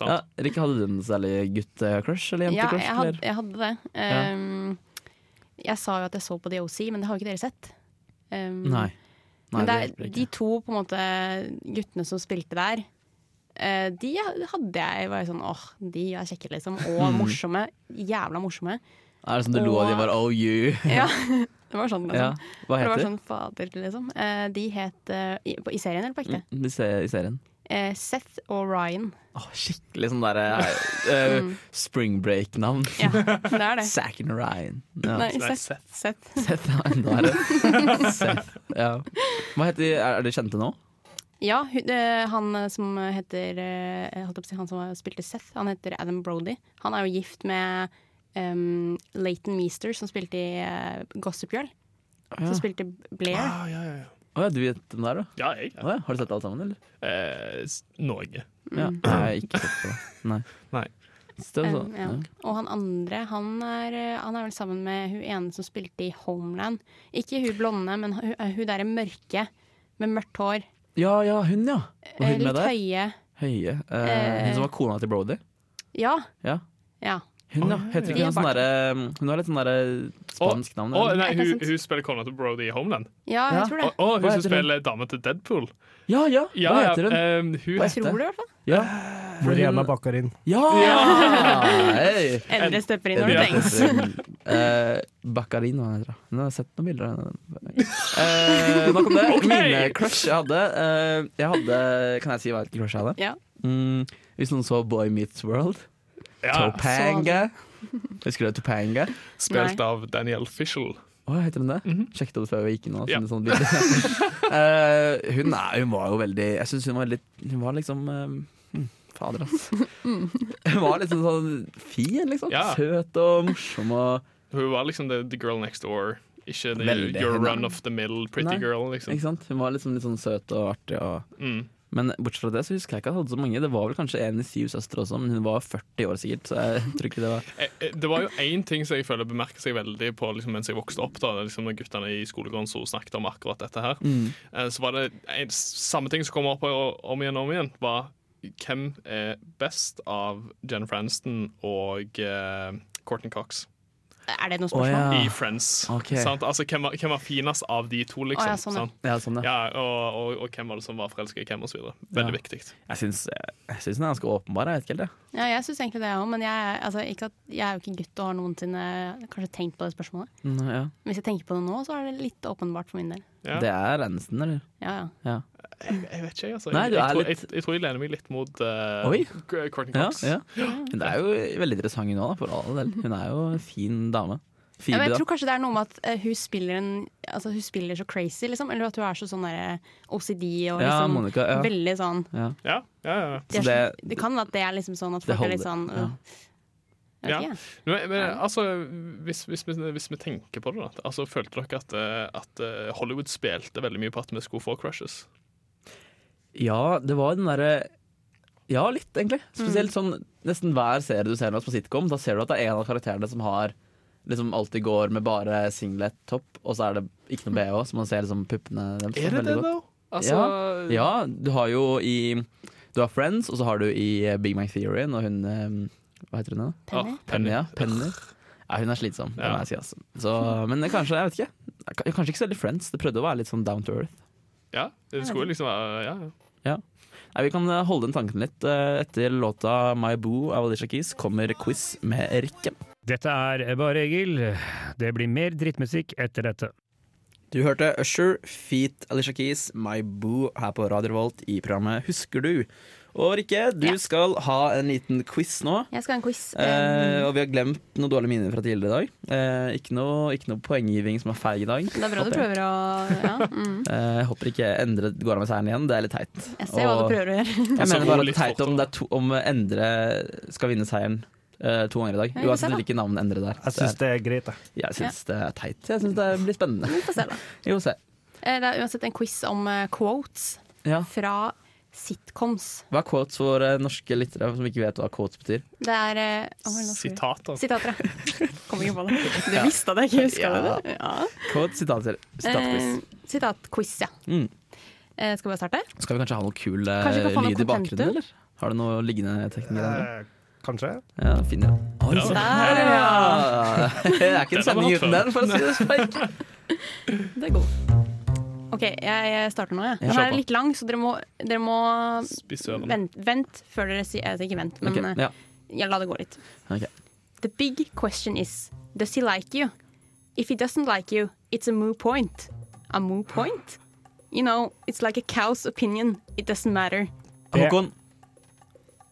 [SPEAKER 3] Sant.
[SPEAKER 2] Ja, Rikke, hadde du en særlig gutt-crush eller
[SPEAKER 4] Ja,
[SPEAKER 2] jente-crush?
[SPEAKER 4] jeg
[SPEAKER 2] eller?
[SPEAKER 4] hadde, jeg hadde det. Ehm, Jeg sa jo at jeg så på DOC, men det har jo ikke dere sett. Ehm,
[SPEAKER 2] Nei. Nei,
[SPEAKER 4] men det er,
[SPEAKER 2] hjelper
[SPEAKER 4] de
[SPEAKER 2] ikke.
[SPEAKER 4] to på en måte, guttene som spilte der, eh, de hadde jeg var jo sånn åh, de er kjekke, liksom. Og
[SPEAKER 2] Mm.
[SPEAKER 4] morsomme. Jævla morsomme.
[SPEAKER 2] Er det sånn du lo av de var oh you?
[SPEAKER 4] Ja, det var sånn,
[SPEAKER 2] Ja.
[SPEAKER 4] liksom.
[SPEAKER 2] Hva
[SPEAKER 4] Det var
[SPEAKER 2] heter de?
[SPEAKER 4] sånn fader, liksom. Eh, De het eh, i, på- I serien eller på ekte?
[SPEAKER 2] De ser, I serien.
[SPEAKER 4] Eh, Seth og Ryan.
[SPEAKER 2] Åh, skikkelig sånn derre eh, spring break-navn.
[SPEAKER 4] Ja, det er det.
[SPEAKER 2] Zack and Ryan. Ja.
[SPEAKER 4] Nei,
[SPEAKER 3] Nei,
[SPEAKER 4] Seth. Seth.
[SPEAKER 2] Seth er enda verre. Seth, ja. Hva heter de? Er er de kjente nå?
[SPEAKER 4] Ja, hu- eh, han eh, som heter eh, jeg holdt på å si, Han som spilte Seth, han heter Adam Brody. Han er jo gift med um, Leighton Meester, som spilte i eh, Gossip Girl.
[SPEAKER 2] ja.
[SPEAKER 4] Som spilte Blair.
[SPEAKER 3] Ah, ja, ja, ja.
[SPEAKER 2] Å ja, du vet den der, da?
[SPEAKER 3] ja, jeg.
[SPEAKER 2] Å
[SPEAKER 3] Ja.
[SPEAKER 2] ja. Har du sett alt sammen, eller?
[SPEAKER 3] Eh, s- Norge.
[SPEAKER 2] Ja. Nei, jeg har ikke sett på det. Nei.
[SPEAKER 3] Mm. Nei.
[SPEAKER 2] Så det er
[SPEAKER 4] Um,
[SPEAKER 2] sånn,
[SPEAKER 4] ja. Og han andre, han er, eh, han er vel sammen med hun ene som spilte i Homeland. Ikke hun blonde, men hun, eh, hun derre mørke med mørkt hår.
[SPEAKER 2] ja. ja, hun, ja. Var
[SPEAKER 4] Eh,
[SPEAKER 2] hun med
[SPEAKER 4] Litt
[SPEAKER 2] der?
[SPEAKER 4] høye.
[SPEAKER 2] Høye. Eh, hun som var kona til Brody?
[SPEAKER 4] Ja.
[SPEAKER 2] Ja.
[SPEAKER 4] ja.
[SPEAKER 2] Hun, ja. Heter
[SPEAKER 4] ja.
[SPEAKER 2] ikke hun sånn derre Hun har litt sånn derre spansk navn.
[SPEAKER 3] Å,
[SPEAKER 2] eller?
[SPEAKER 3] nei,
[SPEAKER 4] Er det
[SPEAKER 3] hun,
[SPEAKER 4] sant?
[SPEAKER 3] hun spiller kona til Brody i Homeland.
[SPEAKER 4] Ja, jeg
[SPEAKER 2] Ja.
[SPEAKER 4] tror
[SPEAKER 3] Å,
[SPEAKER 4] det.
[SPEAKER 3] å, hun
[SPEAKER 2] Hva
[SPEAKER 3] som
[SPEAKER 2] heter hun?
[SPEAKER 3] spiller dama til Deadpool.
[SPEAKER 2] Ja, ja!
[SPEAKER 3] Ja,
[SPEAKER 2] Hva
[SPEAKER 3] ja,
[SPEAKER 2] heter hun?
[SPEAKER 3] eh, hun
[SPEAKER 2] Hva
[SPEAKER 4] Jeg tror det, i hvert fall.
[SPEAKER 2] Ja!
[SPEAKER 6] Mariana Bakarin.
[SPEAKER 2] ja. Hey.
[SPEAKER 4] Endre stepper inn når det
[SPEAKER 3] Ja.
[SPEAKER 4] trengs.
[SPEAKER 2] Eh, Baccarin, hva heter det? Nå har jeg sett noen bilder av henne. Eh, Nok om det. Mine crush jeg hadde, eh, jeg hadde Kan jeg si hva et crush jeg hadde?
[SPEAKER 4] Ja.
[SPEAKER 2] Mm, hvis noen så Boy Meets World.
[SPEAKER 3] Ja.
[SPEAKER 2] Topanga. Husker du Topanga?
[SPEAKER 3] Spilt av Daniel Fishel.
[SPEAKER 2] Å, heter hun det?
[SPEAKER 4] Mhm.
[SPEAKER 2] Sjekket det før vi gikk inn. nå,
[SPEAKER 3] Ja.
[SPEAKER 2] siden det er sånne bilder. Eh, hun, er, hun var jo veldig Jeg syns hun var litt Hun var liksom eh, hm, Fader, ass. Hun var liksom sånn fin, liksom.
[SPEAKER 3] Ja.
[SPEAKER 2] Søt og morsom og
[SPEAKER 3] Hun var liksom the, the girl next door. Ikke the,
[SPEAKER 2] Veldig.
[SPEAKER 3] your run of the middle pretty
[SPEAKER 2] Nei.
[SPEAKER 3] girl, liksom.
[SPEAKER 2] Ikke sant? Hun var liksom litt sånn søt og artig. Og...
[SPEAKER 3] Mm.
[SPEAKER 2] Men bortsett fra det så husker jeg ikke at jeg hadde så mange. Det var vel kanskje en i syv søstre også, men hun var 40 år sikkert. Så jeg tror ikke det var
[SPEAKER 3] Eh, eh, Det var jo én ting som jeg føler bemerker seg veldig på liksom, mens jeg vokste opp. da det er liksom Når guttene i skolegården så snakket om akkurat dette her,
[SPEAKER 2] Mm.
[SPEAKER 3] Eh, så var det en, samme ting som kom opp og- om igjen og om igjen, var hvem er best av Jennifer Aniston og eh, Courtney Cox?
[SPEAKER 4] Er det noe
[SPEAKER 2] Å,
[SPEAKER 4] spørsmål?
[SPEAKER 2] ja.
[SPEAKER 3] i Friends.
[SPEAKER 2] Ah, Ok.
[SPEAKER 3] Sant? Altså, hvem, var- hvem var finest av de to, liksom?
[SPEAKER 4] Å, ja, sånn, ja.
[SPEAKER 3] sant?
[SPEAKER 2] Ja, sånn, ja.
[SPEAKER 3] Ja, og, og, og hvem var det som var forelska i hvem, osv. Veldig
[SPEAKER 2] Ja.
[SPEAKER 3] viktig.
[SPEAKER 2] Jeg syns jeg syns den er ganske åpenbar. Jeg vet ikke helt det.
[SPEAKER 4] ja. jeg syns egentlig det, jeg òg. Men jeg, er- altså, ikke at, jeg er jo ikke gutt og har noensinne kanskje tenkt på det spørsmålet.
[SPEAKER 2] Mm, ja.
[SPEAKER 4] Men hvis jeg tenker på det nå, så er det litt åpenbart for min del.
[SPEAKER 3] Ja.
[SPEAKER 2] Det er Aniston, eller?
[SPEAKER 4] Ja, ja.
[SPEAKER 2] Ja.
[SPEAKER 3] Jeg, jeg vet ikke, jeg, altså.
[SPEAKER 2] Nei,
[SPEAKER 3] jeg,
[SPEAKER 2] du
[SPEAKER 3] jeg,
[SPEAKER 2] er
[SPEAKER 3] tror, jeg,
[SPEAKER 2] litt-
[SPEAKER 3] jeg tror jeg lener meg litt mot eh,
[SPEAKER 2] Oi.
[SPEAKER 3] K- Courtney
[SPEAKER 2] Ja,
[SPEAKER 3] Cox.
[SPEAKER 2] ja. Men det er jo veldig interessant hun òg, for all del. Hun er jo en fin dame.
[SPEAKER 4] Ja,
[SPEAKER 2] Phoebe,
[SPEAKER 4] men jeg
[SPEAKER 2] da.
[SPEAKER 4] tror kanskje det er noe med at eh, hun, spiller en, altså, hun spiller så crazy, liksom. Eller at hun er så sånn der OCD
[SPEAKER 2] Ja,
[SPEAKER 4] og liksom
[SPEAKER 2] Monica. Ja.
[SPEAKER 4] veldig sånn
[SPEAKER 3] Ja, ja, ja.
[SPEAKER 4] de er
[SPEAKER 2] Så
[SPEAKER 4] så-
[SPEAKER 2] det-
[SPEAKER 4] Det kan at det er liksom sånn at
[SPEAKER 2] Det
[SPEAKER 4] folk er litt sånn
[SPEAKER 2] holder-
[SPEAKER 4] øh, jeg vet
[SPEAKER 3] Ja.
[SPEAKER 4] ikke,
[SPEAKER 3] Men,
[SPEAKER 4] jeg.
[SPEAKER 3] men altså, hvis, hvis, vi, hvis vi tenker på det, da altså, Følte dere at, eh, at eh, Hollywood spilte veldig mye på at vi skulle få crushes?
[SPEAKER 2] Ja, det var den derre Ja, litt, egentlig.
[SPEAKER 3] Mm.
[SPEAKER 2] Spesielt sånn nesten hver serie du ser nå på sitcom, da ser du at det er en av karakterene som har Liksom alltid går med bare singlet topp, og så er det ikke noe bh, så man ser liksom puppene deres.
[SPEAKER 3] Er det
[SPEAKER 2] veldig
[SPEAKER 3] det,
[SPEAKER 2] godt.
[SPEAKER 3] da? Altså,
[SPEAKER 2] Ja, du har jo i Du har Friends, og så har du i eh, Big Bang Theory og hun eh, Hva heter hun igjen?
[SPEAKER 3] Ah.
[SPEAKER 4] Penny?
[SPEAKER 2] Penny, ja. Penny. Ja, hun er slitsom, det
[SPEAKER 3] Ja.
[SPEAKER 2] må jeg si. Altså. Så, men kanskje, jeg vet ikke. K- Kanskje ikke så veldig Friends. Det prøvde å være litt sånn down to earth.
[SPEAKER 3] Ja, det skulle liksom være ja. ja.
[SPEAKER 2] Nei, Vi kan eh, holde den tanken litt. Eh, Etter låta My Boo av Alicia Keys kommer quiz med Rikke.
[SPEAKER 9] Dette er Bare Egil. Det blir mer drittmusikk etter dette.
[SPEAKER 7] Du hørte Usher, Feet, Alicia Keys, My Boo her på Radio Revolt i programmet Husker du? Og Rikke, du
[SPEAKER 4] Ja.
[SPEAKER 7] skal ha en liten quiz nå.
[SPEAKER 4] Jeg skal ha en quiz. mm.
[SPEAKER 7] Eh, og vi har glemt noen dårlige minner fra tidligere i dag. Eh, ikke, noe, ikke noe poenggiving som er feig i dag.
[SPEAKER 4] Eh, det er bra du
[SPEAKER 7] håper jeg.
[SPEAKER 4] prøver å ja, mm.
[SPEAKER 7] Eh, jeg håper ikke Endre går av med seieren igjen. Det er litt teit.
[SPEAKER 4] Jeg ser hva du
[SPEAKER 7] Og-
[SPEAKER 4] prøver å gjøre.
[SPEAKER 7] Jeg
[SPEAKER 3] Altså,
[SPEAKER 7] mener bare
[SPEAKER 3] gå
[SPEAKER 7] at det
[SPEAKER 3] litt
[SPEAKER 7] er teit
[SPEAKER 3] fort,
[SPEAKER 7] om, det er to, om Endre skal vinne seieren eh, to ganger i dag.
[SPEAKER 4] Ja, vi får se,
[SPEAKER 7] Uansett
[SPEAKER 4] da.
[SPEAKER 7] hvilket navn Endre det er.
[SPEAKER 6] Jeg syns det er greit, jeg.
[SPEAKER 7] Det er- jeg syns det er teit. Jeg syns det blir spennende.
[SPEAKER 4] Vi får se, da.
[SPEAKER 7] Jo, se.
[SPEAKER 4] Eh, Det er uansett en quiz om eh, quotes
[SPEAKER 7] Ja.
[SPEAKER 4] fra sitcoms.
[SPEAKER 7] Hva er quotes for eh, norske lyttere som ikke vet hva quotes betyr?
[SPEAKER 4] Det er eh, å, hva er det nå for-
[SPEAKER 3] Sitater.
[SPEAKER 4] Sitater, ja. Kom ikke på det. Du visste at jeg ikke huska
[SPEAKER 7] Ja.
[SPEAKER 4] det. Ja.
[SPEAKER 7] Quotes, sitatquiz.
[SPEAKER 4] Eh, Sitatquiz, ja.
[SPEAKER 7] Mm.
[SPEAKER 4] Eh, Skal vi bare starte?
[SPEAKER 7] Skal vi kanskje ha noe kul eh,
[SPEAKER 4] Kanskje vi kan få noe
[SPEAKER 7] lyd i
[SPEAKER 4] contentum?
[SPEAKER 7] bakgrunnen, eller? Har du noe liggende teknikere? der?
[SPEAKER 6] Eh, Kanskje?
[SPEAKER 7] Ja, fin, ja. Oi, se.
[SPEAKER 4] Der, ja!
[SPEAKER 7] Ah, Det er ikke en
[SPEAKER 3] Den har vi
[SPEAKER 7] sending
[SPEAKER 3] hatt
[SPEAKER 7] uten
[SPEAKER 3] før.
[SPEAKER 7] den, for å si det slik.
[SPEAKER 4] Det er god. OK, jeg jeg starter nå, jeg. Den
[SPEAKER 7] kjør
[SPEAKER 4] er
[SPEAKER 7] på.
[SPEAKER 4] litt lang, så dere må, dere må
[SPEAKER 3] Spis ørene.
[SPEAKER 4] vent, vent før dere sier altså, Ikke vent, men
[SPEAKER 7] Ok,
[SPEAKER 4] eh,
[SPEAKER 7] ja.
[SPEAKER 4] ja, la det gå litt.
[SPEAKER 7] Ok.
[SPEAKER 4] The big question is Does he like you? If he doesn't like you, it's a moo point. A moo point? You know, it's like a cow's opinion. It doesn't matter.
[SPEAKER 7] Håkon.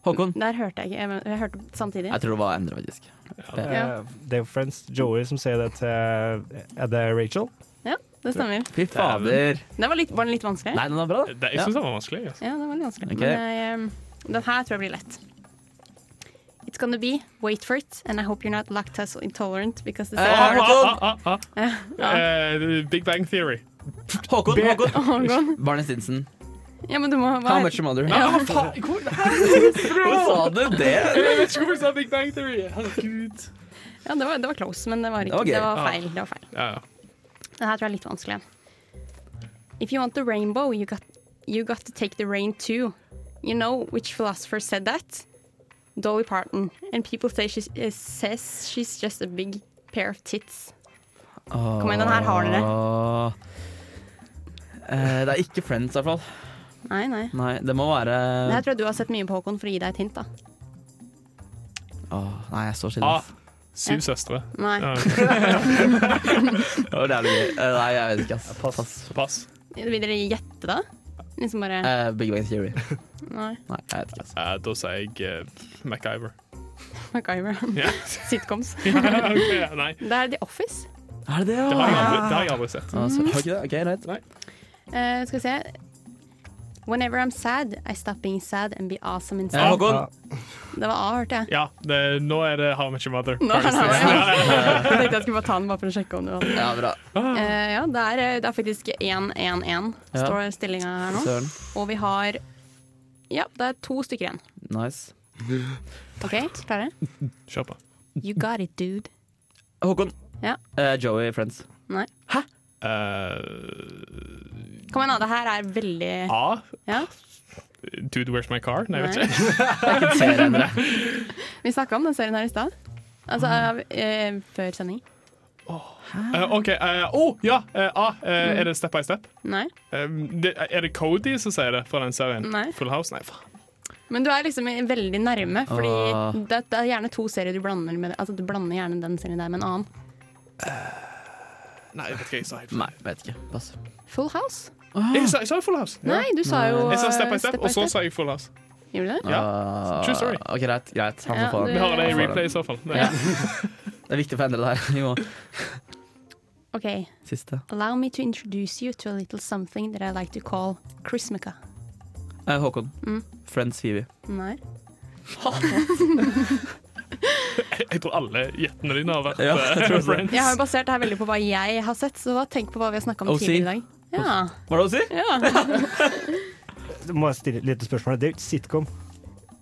[SPEAKER 7] Håkon.
[SPEAKER 4] Der hørte jeg ikke. Jeg, jeg hørte samtidig.
[SPEAKER 7] Jeg tror det var Endre, faktisk.
[SPEAKER 4] Ja.
[SPEAKER 6] Eh, Det er jo Friends Joey som sier det til Er det Rachel?
[SPEAKER 4] Ja, det stemmer.
[SPEAKER 7] Fy fader.
[SPEAKER 4] Den var, litt, var den litt vanskelig?
[SPEAKER 7] Nei, den var bra, da.
[SPEAKER 3] Det, jeg syns det var vanskelig. Altså.
[SPEAKER 4] Ja, den var litt vanskelig.
[SPEAKER 7] Ok.
[SPEAKER 4] Men jeg, um, den her tror jeg blir lett. It's gonna be, wait for it, and I hope you're not lactose intolerant because this
[SPEAKER 7] Eh,
[SPEAKER 4] is
[SPEAKER 7] Håkon!
[SPEAKER 3] Ah, ah, ah. Eh, Big Bang Theory.
[SPEAKER 7] Håkon, Håkon.
[SPEAKER 4] Håkon.
[SPEAKER 7] Barney Stinson.
[SPEAKER 4] Oh, Ja, men du må
[SPEAKER 7] How
[SPEAKER 4] være
[SPEAKER 7] much your mother?
[SPEAKER 3] Ja, faen, hvor-
[SPEAKER 7] Hvorfor sa du det?
[SPEAKER 3] Jeg vet ikke hvorfor jeg sa Big Bang Theory. Herregud.
[SPEAKER 4] Ja, det var, det var close, men det var, ikke,
[SPEAKER 7] var gøy.
[SPEAKER 4] det var
[SPEAKER 3] Ja.
[SPEAKER 4] feil. Det var feil.
[SPEAKER 3] Ja, ja.
[SPEAKER 4] Den her tror jeg er litt vanskelig. If you want the rainbow, you got, you got to take the rain too. You know which philosopher said that? Dolly Parton. And people say she eh, says she's just a big pair of tits. Kom igjen, den her har dere.
[SPEAKER 7] Åh. Eh, det er ikke Friends, i hvert fall.
[SPEAKER 4] Nei, nei.
[SPEAKER 7] Nei, det må være
[SPEAKER 4] Det her tror jeg du har sett mye på, Håkon, for å gi deg et hint, da.
[SPEAKER 7] Åh, Nei, jeg står stille.
[SPEAKER 3] Ah,
[SPEAKER 7] ass.
[SPEAKER 3] syv søstre.
[SPEAKER 4] Nei.
[SPEAKER 3] Ja,
[SPEAKER 7] Det var jævlig gøy. Eh, nei, jeg vet ikke, ass. Pass.
[SPEAKER 3] Pass.
[SPEAKER 4] Vil dere gjette, da? Liksom bare
[SPEAKER 7] Eh, Big Bang Theory.
[SPEAKER 4] Nei.
[SPEAKER 7] Nei, jeg vet ikke, ass.
[SPEAKER 3] Eh, da sier jeg eh, MacGyver.
[SPEAKER 4] MacGyver.
[SPEAKER 3] Ja.
[SPEAKER 4] Sitcoms.
[SPEAKER 3] Ok, ja, nei,
[SPEAKER 4] Det er The Office.
[SPEAKER 7] Er det det,
[SPEAKER 3] det
[SPEAKER 7] ja?
[SPEAKER 3] har jeg aldri, det har jeg aldri sett.
[SPEAKER 7] Ah, så- Har du ikke det? Ok, greit.
[SPEAKER 4] Eh, skal vi se. Whenever I'm sad, I stop being sad and be awesome
[SPEAKER 7] Eh,
[SPEAKER 4] instead.
[SPEAKER 7] Håkon.
[SPEAKER 4] Det var A, hørte jeg.
[SPEAKER 3] Ja, det, nå er det How Much Your Mother.
[SPEAKER 4] Nå er det A, ja. Jeg tenkte jeg skulle bare ta den bare for å sjekke om du hadde
[SPEAKER 7] Ja, bra.
[SPEAKER 4] Eh, Ja, det er, eh, det er faktisk 1-1-1
[SPEAKER 7] Ja.
[SPEAKER 4] står stillinga her nå.
[SPEAKER 7] Søren.
[SPEAKER 4] Og vi har Ja, det er to stykker igjen.
[SPEAKER 7] Nice.
[SPEAKER 4] OK, klare?
[SPEAKER 3] Kjør på.
[SPEAKER 4] You got it, dude.
[SPEAKER 7] Håkon.
[SPEAKER 4] Ja.
[SPEAKER 7] Eh, Joey Friends.
[SPEAKER 4] Nei.
[SPEAKER 3] Eh,
[SPEAKER 4] Kom igjen, da. Det her er veldig
[SPEAKER 3] A.
[SPEAKER 4] Ja.
[SPEAKER 3] Dude, Where's My Car? Ah, Nei, jeg vet ikke.
[SPEAKER 7] Serien, dere.
[SPEAKER 4] Vi snakka om den serien her i stad. Altså
[SPEAKER 7] Mm.
[SPEAKER 4] av, eh, før sending.
[SPEAKER 3] Eh, OK. eh, oh, ja! eh, ah, eh, er det Step by Step?
[SPEAKER 4] Nei.
[SPEAKER 3] Eh, det, er det Cody som sier det fra den serien?
[SPEAKER 4] Nei.
[SPEAKER 3] Full House? Nei, faen.
[SPEAKER 4] Men du er liksom veldig nærme, fordi
[SPEAKER 2] Åh.
[SPEAKER 4] det, det er gjerne to serier du blander med Altså du blander gjerne den serien der med en annen.
[SPEAKER 3] Nei, jeg vet ikke. Jeg sa helt
[SPEAKER 2] Nei, vet ikke. Pass.
[SPEAKER 4] Full House?
[SPEAKER 3] Jeg sa, jeg sa jo Full House.
[SPEAKER 4] Nei, du sa jo
[SPEAKER 3] Jeg sa
[SPEAKER 4] eh,
[SPEAKER 3] Step by Step, og så
[SPEAKER 4] Step.
[SPEAKER 3] sa jeg Full House.
[SPEAKER 4] Gjorde du det?
[SPEAKER 2] Ah,
[SPEAKER 3] True story.
[SPEAKER 2] Ok, greit. greit. Han
[SPEAKER 4] Ja,
[SPEAKER 2] får få
[SPEAKER 4] du-
[SPEAKER 3] Vi har det i
[SPEAKER 2] Han får
[SPEAKER 3] replay i så fall. Nei.
[SPEAKER 2] Ja. Det er viktig for å endre det her. Vi må
[SPEAKER 4] OK.
[SPEAKER 2] Siste.
[SPEAKER 4] Allow me to introduce you to a little something that I like to call Chrismica.
[SPEAKER 2] Eh, Håkon.
[SPEAKER 4] Mm.
[SPEAKER 2] Friends Phoebe.
[SPEAKER 4] Nei.
[SPEAKER 3] Jeg, jeg tror alle gjettene dine har vært
[SPEAKER 2] Ja,
[SPEAKER 3] eh,
[SPEAKER 2] jeg tror det.
[SPEAKER 3] friends.
[SPEAKER 4] Jeg har jo basert det her veldig på hva jeg har sett, så da tenk på hva vi har snakka om
[SPEAKER 2] OC.
[SPEAKER 4] tidligere i dag. Ja.
[SPEAKER 2] Hva er det å si?
[SPEAKER 4] ja.
[SPEAKER 6] Du må jeg stille et lite spørsmål. Det er jo ikke sitcom.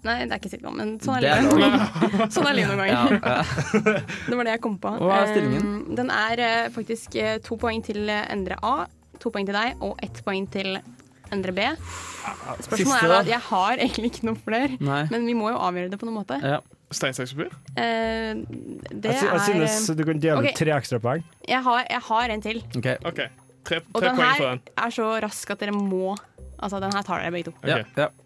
[SPEAKER 4] Nei, det er ikke sitcom, men sånn er
[SPEAKER 2] Det er
[SPEAKER 4] livet noen ganger. Sånn er livet noen
[SPEAKER 2] Ja,
[SPEAKER 4] ganger.
[SPEAKER 2] ja.
[SPEAKER 4] Det var det jeg kom på.
[SPEAKER 2] Hva er stillingen?
[SPEAKER 4] Eh, Den er eh, faktisk eh, to poeng til eh, Endre A, to poeng til deg og ett poeng til Endre B. Spørsmålet
[SPEAKER 2] Siste,
[SPEAKER 4] er
[SPEAKER 2] da?
[SPEAKER 4] at jeg har egentlig ikke noen flere,
[SPEAKER 2] Nei.
[SPEAKER 4] men vi må jo avgjøre det på noen måte.
[SPEAKER 2] Ja.
[SPEAKER 3] Stein, saks, papir?
[SPEAKER 4] Eh, Det
[SPEAKER 6] Jeg, sy- jeg
[SPEAKER 4] er
[SPEAKER 6] synes
[SPEAKER 4] eh,
[SPEAKER 6] du kan dele
[SPEAKER 4] ok.
[SPEAKER 6] ut tre ekstrapoeng.
[SPEAKER 4] Jeg har, jeg har en til,
[SPEAKER 2] Ok.
[SPEAKER 3] OK. Tre,
[SPEAKER 4] og
[SPEAKER 3] tre
[SPEAKER 4] den
[SPEAKER 3] poeng
[SPEAKER 4] her
[SPEAKER 3] for den.
[SPEAKER 4] er så rask at dere må Altså, den her tar dere begge to.
[SPEAKER 2] Ja,
[SPEAKER 3] Ok.
[SPEAKER 2] ja. Eh,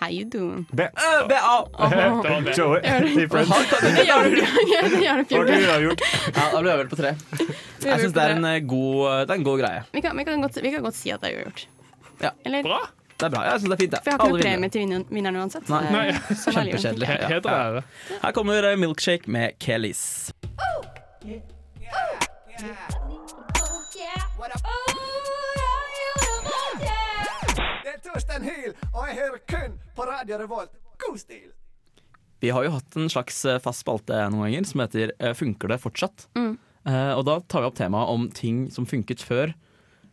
[SPEAKER 4] How you doing?
[SPEAKER 6] B.
[SPEAKER 2] Ja,
[SPEAKER 3] Det var det.
[SPEAKER 6] Joey. i Friends.
[SPEAKER 4] Det gjør du det gjør du
[SPEAKER 6] Har du
[SPEAKER 4] fint.
[SPEAKER 6] uavgjort?
[SPEAKER 2] da blir jeg vel på tre.
[SPEAKER 4] Vi
[SPEAKER 2] Jeg
[SPEAKER 4] gjør
[SPEAKER 2] syns
[SPEAKER 4] på
[SPEAKER 2] det er en eh, god, det er en god greie.
[SPEAKER 4] Vi kan, vi, kan godt, vi kan godt si at det er uavgjort.
[SPEAKER 2] Ja.
[SPEAKER 4] Eller?
[SPEAKER 3] Bra.
[SPEAKER 2] Det er bra. Jeg synes det er fint.
[SPEAKER 4] For jeg har ikke noe premie til vinneren, vinneren uansett.
[SPEAKER 2] Nei.
[SPEAKER 4] Eh, sånn er livet.
[SPEAKER 2] Kjempekjedelig.
[SPEAKER 3] He- Heder og ære.
[SPEAKER 2] Her kommer eh, Milkshake med Kellys.
[SPEAKER 5] Det er Torstein Hyl, og jeg hører kun på Radio Revolt. God stil!
[SPEAKER 2] Vi har jo hatt en slags eh, fast spalte noen ganger som heter eh, Funker det fortsatt?
[SPEAKER 4] Mm.
[SPEAKER 2] Eh, og da tar vi opp temaet om ting som funket før.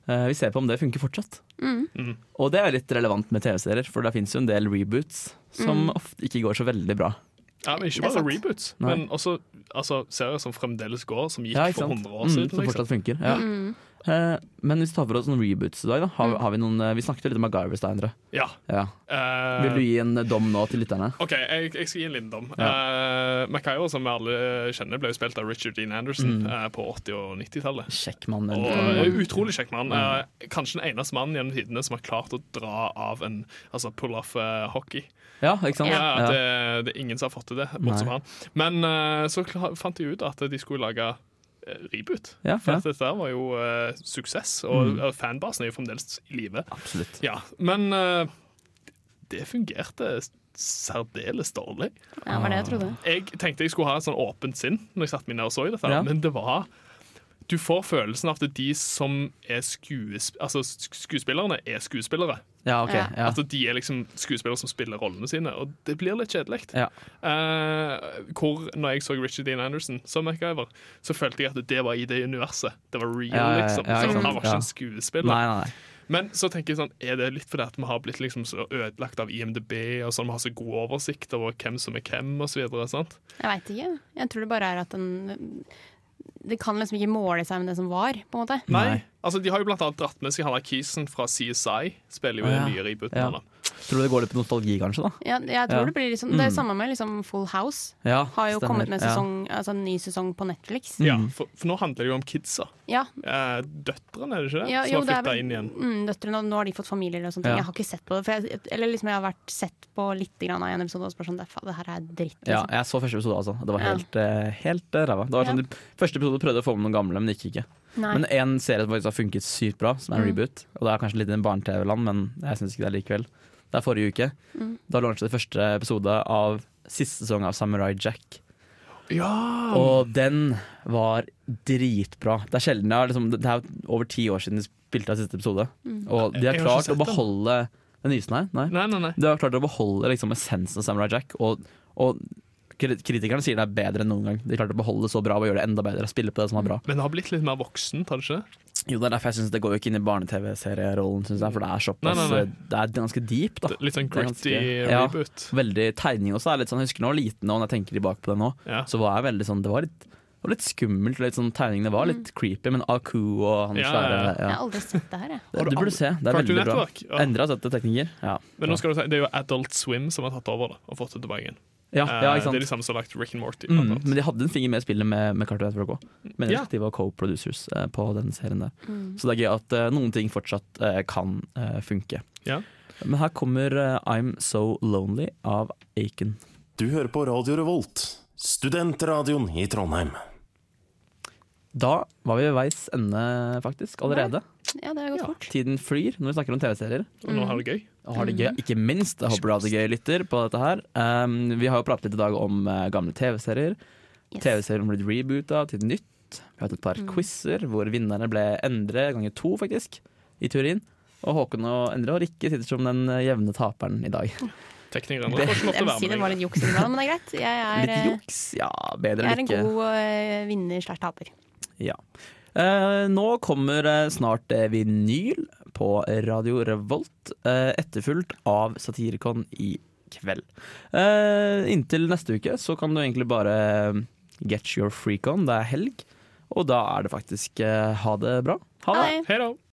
[SPEAKER 2] Eh, vi ser på om det funker fortsatt.
[SPEAKER 4] Mm.
[SPEAKER 2] Og det er litt relevant med TV-serier, for det fins jo en del reboots som
[SPEAKER 4] Mm.
[SPEAKER 2] ofte ikke går så veldig bra.
[SPEAKER 3] Ja, men Ikke
[SPEAKER 4] Det
[SPEAKER 3] bare
[SPEAKER 4] er sant.
[SPEAKER 3] reboots,
[SPEAKER 2] Nei.
[SPEAKER 3] men også altså, serier som fremdeles går, som gikk
[SPEAKER 2] Ja, ikke
[SPEAKER 3] for
[SPEAKER 2] sant?
[SPEAKER 3] 100 år
[SPEAKER 2] Mm,
[SPEAKER 3] siden.
[SPEAKER 2] som
[SPEAKER 3] Liksom.
[SPEAKER 2] fortsatt funker. Ja.
[SPEAKER 4] Mm.
[SPEAKER 2] Eh, men hvis vi tar for oss noen reboots i dag, da, har, har vi, noen, eh, vi snakket jo litt om MacGyver, Steinre.
[SPEAKER 3] Ja.
[SPEAKER 2] Ja.
[SPEAKER 3] eh,
[SPEAKER 2] Vil du gi en eh, dom nå til lytterne?
[SPEAKER 3] OK, jeg, jeg skal gi en liten dom. Eh, MacGyver, som vi alle eh, kjenner, ble jo spilt av Richard Dean Anderson
[SPEAKER 2] Mm.
[SPEAKER 3] eh, på 80- og 90-tallet.
[SPEAKER 2] Sjekk, mann.
[SPEAKER 3] Og
[SPEAKER 2] eller-
[SPEAKER 3] eh, Utrolig kjekk
[SPEAKER 2] Mm.
[SPEAKER 3] mann. Eh, kanskje den eneste mannen gjennom tidene som har klart å dra av en altså pull-off eh, hockey.
[SPEAKER 2] Ja, ikke sant?
[SPEAKER 3] Ja,
[SPEAKER 2] Ja.
[SPEAKER 3] det, det er ingen som har fått til det, bortsett fra han. Men eh, så kla- fant de ut at de skulle lage eh, reboot.
[SPEAKER 2] Ja,
[SPEAKER 3] For
[SPEAKER 2] ja.
[SPEAKER 3] at dette her var jo eh, suksess, og eh, fanbasen er jo fremdeles i live.
[SPEAKER 2] Absolutt.
[SPEAKER 3] Ja, men eh, det fungerte s- særdeles dårlig.
[SPEAKER 4] Ja, det var det jeg trodde.
[SPEAKER 3] Jeg tenkte jeg skulle ha et sånn åpent sinn når jeg satte meg ned og så i dette, her,
[SPEAKER 2] Ja.
[SPEAKER 3] men det var Du får følelsen av at de som er skuesp altså, sk- skuespillerne, er skuespillere.
[SPEAKER 2] Ja, ok.
[SPEAKER 4] Ja.
[SPEAKER 2] Ja.
[SPEAKER 3] At de er liksom skuespillere som spiller rollene sine, og det blir litt kjedelig.
[SPEAKER 2] Ja.
[SPEAKER 3] Eh, hvor når jeg så Richard Dean Anderson som MacGyver, så følte jeg at det var i det universet. Det var real,
[SPEAKER 2] Ja, ja, ja,
[SPEAKER 3] liksom.
[SPEAKER 2] ja, ikke
[SPEAKER 3] så
[SPEAKER 2] sant,
[SPEAKER 3] han var ikke
[SPEAKER 2] ja.
[SPEAKER 3] en skuespiller.
[SPEAKER 2] Nei, nei, nei.
[SPEAKER 3] Men så tenker jeg sånn, er det litt fordi at vi har blitt liksom så ødelagt av IMDb, og sånn, vi har så god oversikt over hvem som er hvem, og så videre, sant?
[SPEAKER 2] Ah.
[SPEAKER 4] Jeg veit ikke. Jeg tror det bare er at den Det kan liksom ikke måle seg med det som var, på en måte.
[SPEAKER 3] Nei. Altså, de har jo blant annet dratt med seg Hanna Kisen fra CSI, spiller jo
[SPEAKER 2] Å,
[SPEAKER 3] i
[SPEAKER 2] ja.
[SPEAKER 3] den nye rebooten.
[SPEAKER 2] Ja.
[SPEAKER 3] nå, da.
[SPEAKER 2] Tror du det går litt på nostalgi, kanskje? da?
[SPEAKER 4] Ja, jeg tror
[SPEAKER 2] Ja.
[SPEAKER 4] det blir liksom Det er samme med liksom Full House.
[SPEAKER 2] Ja,
[SPEAKER 4] Har jo
[SPEAKER 2] stemmer.
[SPEAKER 4] kommet med
[SPEAKER 2] Ja. Mm.
[SPEAKER 4] sesong, altså en ny sesong på Netflix.
[SPEAKER 3] Ja, for, for nå handler det jo om kidsa.
[SPEAKER 4] Ja.
[SPEAKER 3] Eh, døtrene, er det ikke det?
[SPEAKER 4] ja
[SPEAKER 3] som
[SPEAKER 4] jo,
[SPEAKER 3] har
[SPEAKER 4] det er
[SPEAKER 3] flytta
[SPEAKER 4] vel-
[SPEAKER 3] inn igjen.
[SPEAKER 4] Mm, døtrene, og nå har de fått familier og sånne
[SPEAKER 2] Ja.
[SPEAKER 4] ting. Jeg har ikke sett på det. For jeg, eller liksom jeg har vært sett på litt grann av en episode og spurt sånn "Det er fa- Det her er dritt.
[SPEAKER 2] Ja,
[SPEAKER 4] Liksom.
[SPEAKER 2] jeg så første episode, altså. Det var
[SPEAKER 4] Ja.
[SPEAKER 2] helt, eh, helt eh, ræva. Det var sånn,
[SPEAKER 4] Ja.
[SPEAKER 2] de Første episode prøvde å få med noen gamle, men det gikk ikke.
[SPEAKER 4] Nei. Mm.
[SPEAKER 2] Men en serie som faktisk har funket sykt bra, som er en reboot, og det er kanskje litt i en barne-TV-land, men jeg syns ikke det er likevel. Det er forrige uke.
[SPEAKER 4] Mm.
[SPEAKER 2] Da launchet det første episode av siste sesong av Samurai Jack.
[SPEAKER 3] Ja!
[SPEAKER 2] Og den var dritbra. Det er sjelden jeg har liksom, Det er jo over ti år siden de spilte av siste episode.
[SPEAKER 4] Mm.
[SPEAKER 2] Og de har
[SPEAKER 3] Jeg har ikke
[SPEAKER 2] klart
[SPEAKER 3] sett
[SPEAKER 2] å
[SPEAKER 3] den.
[SPEAKER 2] beholde den nysen her. Nei.
[SPEAKER 3] Nei, nei, nei.
[SPEAKER 2] De har klart å beholde liksom, essensen av Samurai Jack. Og, og kri- kritikerne sier det er bedre enn noen gang. De klarte å beholde det så bra og gjøre det enda bedre. Spille på det som var bra.
[SPEAKER 3] Men det har blitt litt mer voksent, har det ikke det?
[SPEAKER 2] Jo, det er derfor jeg synes det går jo ikke inn i barne-TV-serierollen, synes jeg. For det er
[SPEAKER 3] Nei,
[SPEAKER 2] såpass
[SPEAKER 3] nei, nei.
[SPEAKER 2] Det er ganske deep, da.
[SPEAKER 3] Det- Litt sånn
[SPEAKER 2] Det er ganske-
[SPEAKER 3] gritty
[SPEAKER 2] ja.
[SPEAKER 3] reboot.
[SPEAKER 2] Veldig tegning også. er litt sånn, Jeg husker når jeg var liten og når jeg tenker tilbake på det nå,
[SPEAKER 3] Ja.
[SPEAKER 2] så var jeg veldig sånn Det var litt Og litt skummelt, og litt sånn tegningene var litt creepy, men AQ og han
[SPEAKER 3] Mm. Ja,
[SPEAKER 2] svære
[SPEAKER 3] ja,
[SPEAKER 4] Jeg
[SPEAKER 2] ja.
[SPEAKER 4] har aldri sett det her, jeg.
[SPEAKER 2] Det, du burde se. Det er
[SPEAKER 3] Cartoon
[SPEAKER 2] veldig bra.
[SPEAKER 3] Network. Ja.
[SPEAKER 2] Endra sette teknikker. Ja.
[SPEAKER 3] Men nå skal du si, det er jo Adult Swim som har tatt over det og fått det tilbake igjen.
[SPEAKER 2] Ja, ja,
[SPEAKER 3] Eh,
[SPEAKER 2] ikke
[SPEAKER 3] Det er de
[SPEAKER 2] sant?
[SPEAKER 3] samme som har lagt Rick and Morty.
[SPEAKER 2] Mm,
[SPEAKER 3] blant annet.
[SPEAKER 2] men de hadde en finger med i spillet med, med Cartoon Network òg. Men
[SPEAKER 3] Ja.
[SPEAKER 2] de var co-producers eh, på den serien der. Så det er gøy at eh, noen ting fortsatt eh, kan eh, funke.
[SPEAKER 3] Ja.
[SPEAKER 2] Men her kommer eh, I'm So Lonely av Aiken.
[SPEAKER 10] Du hører på Radio Revolt, studentradioen i Trondheim.
[SPEAKER 2] Da var vi ved veis ende, faktisk. Allerede.
[SPEAKER 4] Ja, det har gått fort.
[SPEAKER 2] Tiden flyr når vi snakker om TV-serier.
[SPEAKER 3] Og nå har det gøy.
[SPEAKER 2] Og har det gøy, ikke minst. Jeg håper du har det gøy, lytter, på dette her. Um, vi har jo pratet litt i dag om eh, gamle TV-serier.
[SPEAKER 4] Yes. Mm.
[SPEAKER 2] TV-serier som ble reboota til nytt. Vi har hatt et par quizer hvor vinnerne ble Endre ganger to, faktisk, i teorien. Og Håkon og Endre og Rikke sitter som den eh, jevne taperen i dag.
[SPEAKER 3] Teknikerne får ikke lov
[SPEAKER 4] Jeg
[SPEAKER 3] til å
[SPEAKER 4] vil si
[SPEAKER 3] være
[SPEAKER 4] det var
[SPEAKER 3] med.
[SPEAKER 4] litt juks innimellom, men det er greit. Jeg er,
[SPEAKER 2] Litt
[SPEAKER 4] eh,
[SPEAKER 2] juks, ja. Bedre
[SPEAKER 4] jeg er
[SPEAKER 2] enn
[SPEAKER 4] en
[SPEAKER 2] ikke.
[SPEAKER 4] god eh, vinner slash taper.
[SPEAKER 2] Ja. Eh, nå kommer eh, snart eh, vinyl på Radio Revolt, eh, etterfulgt av Satirikon i kveld. Eh, inntil neste uke så kan du egentlig bare eh, get your freak on. Det er helg, og da er det faktisk eh, ha det bra.
[SPEAKER 4] Ha det!
[SPEAKER 3] Hei da.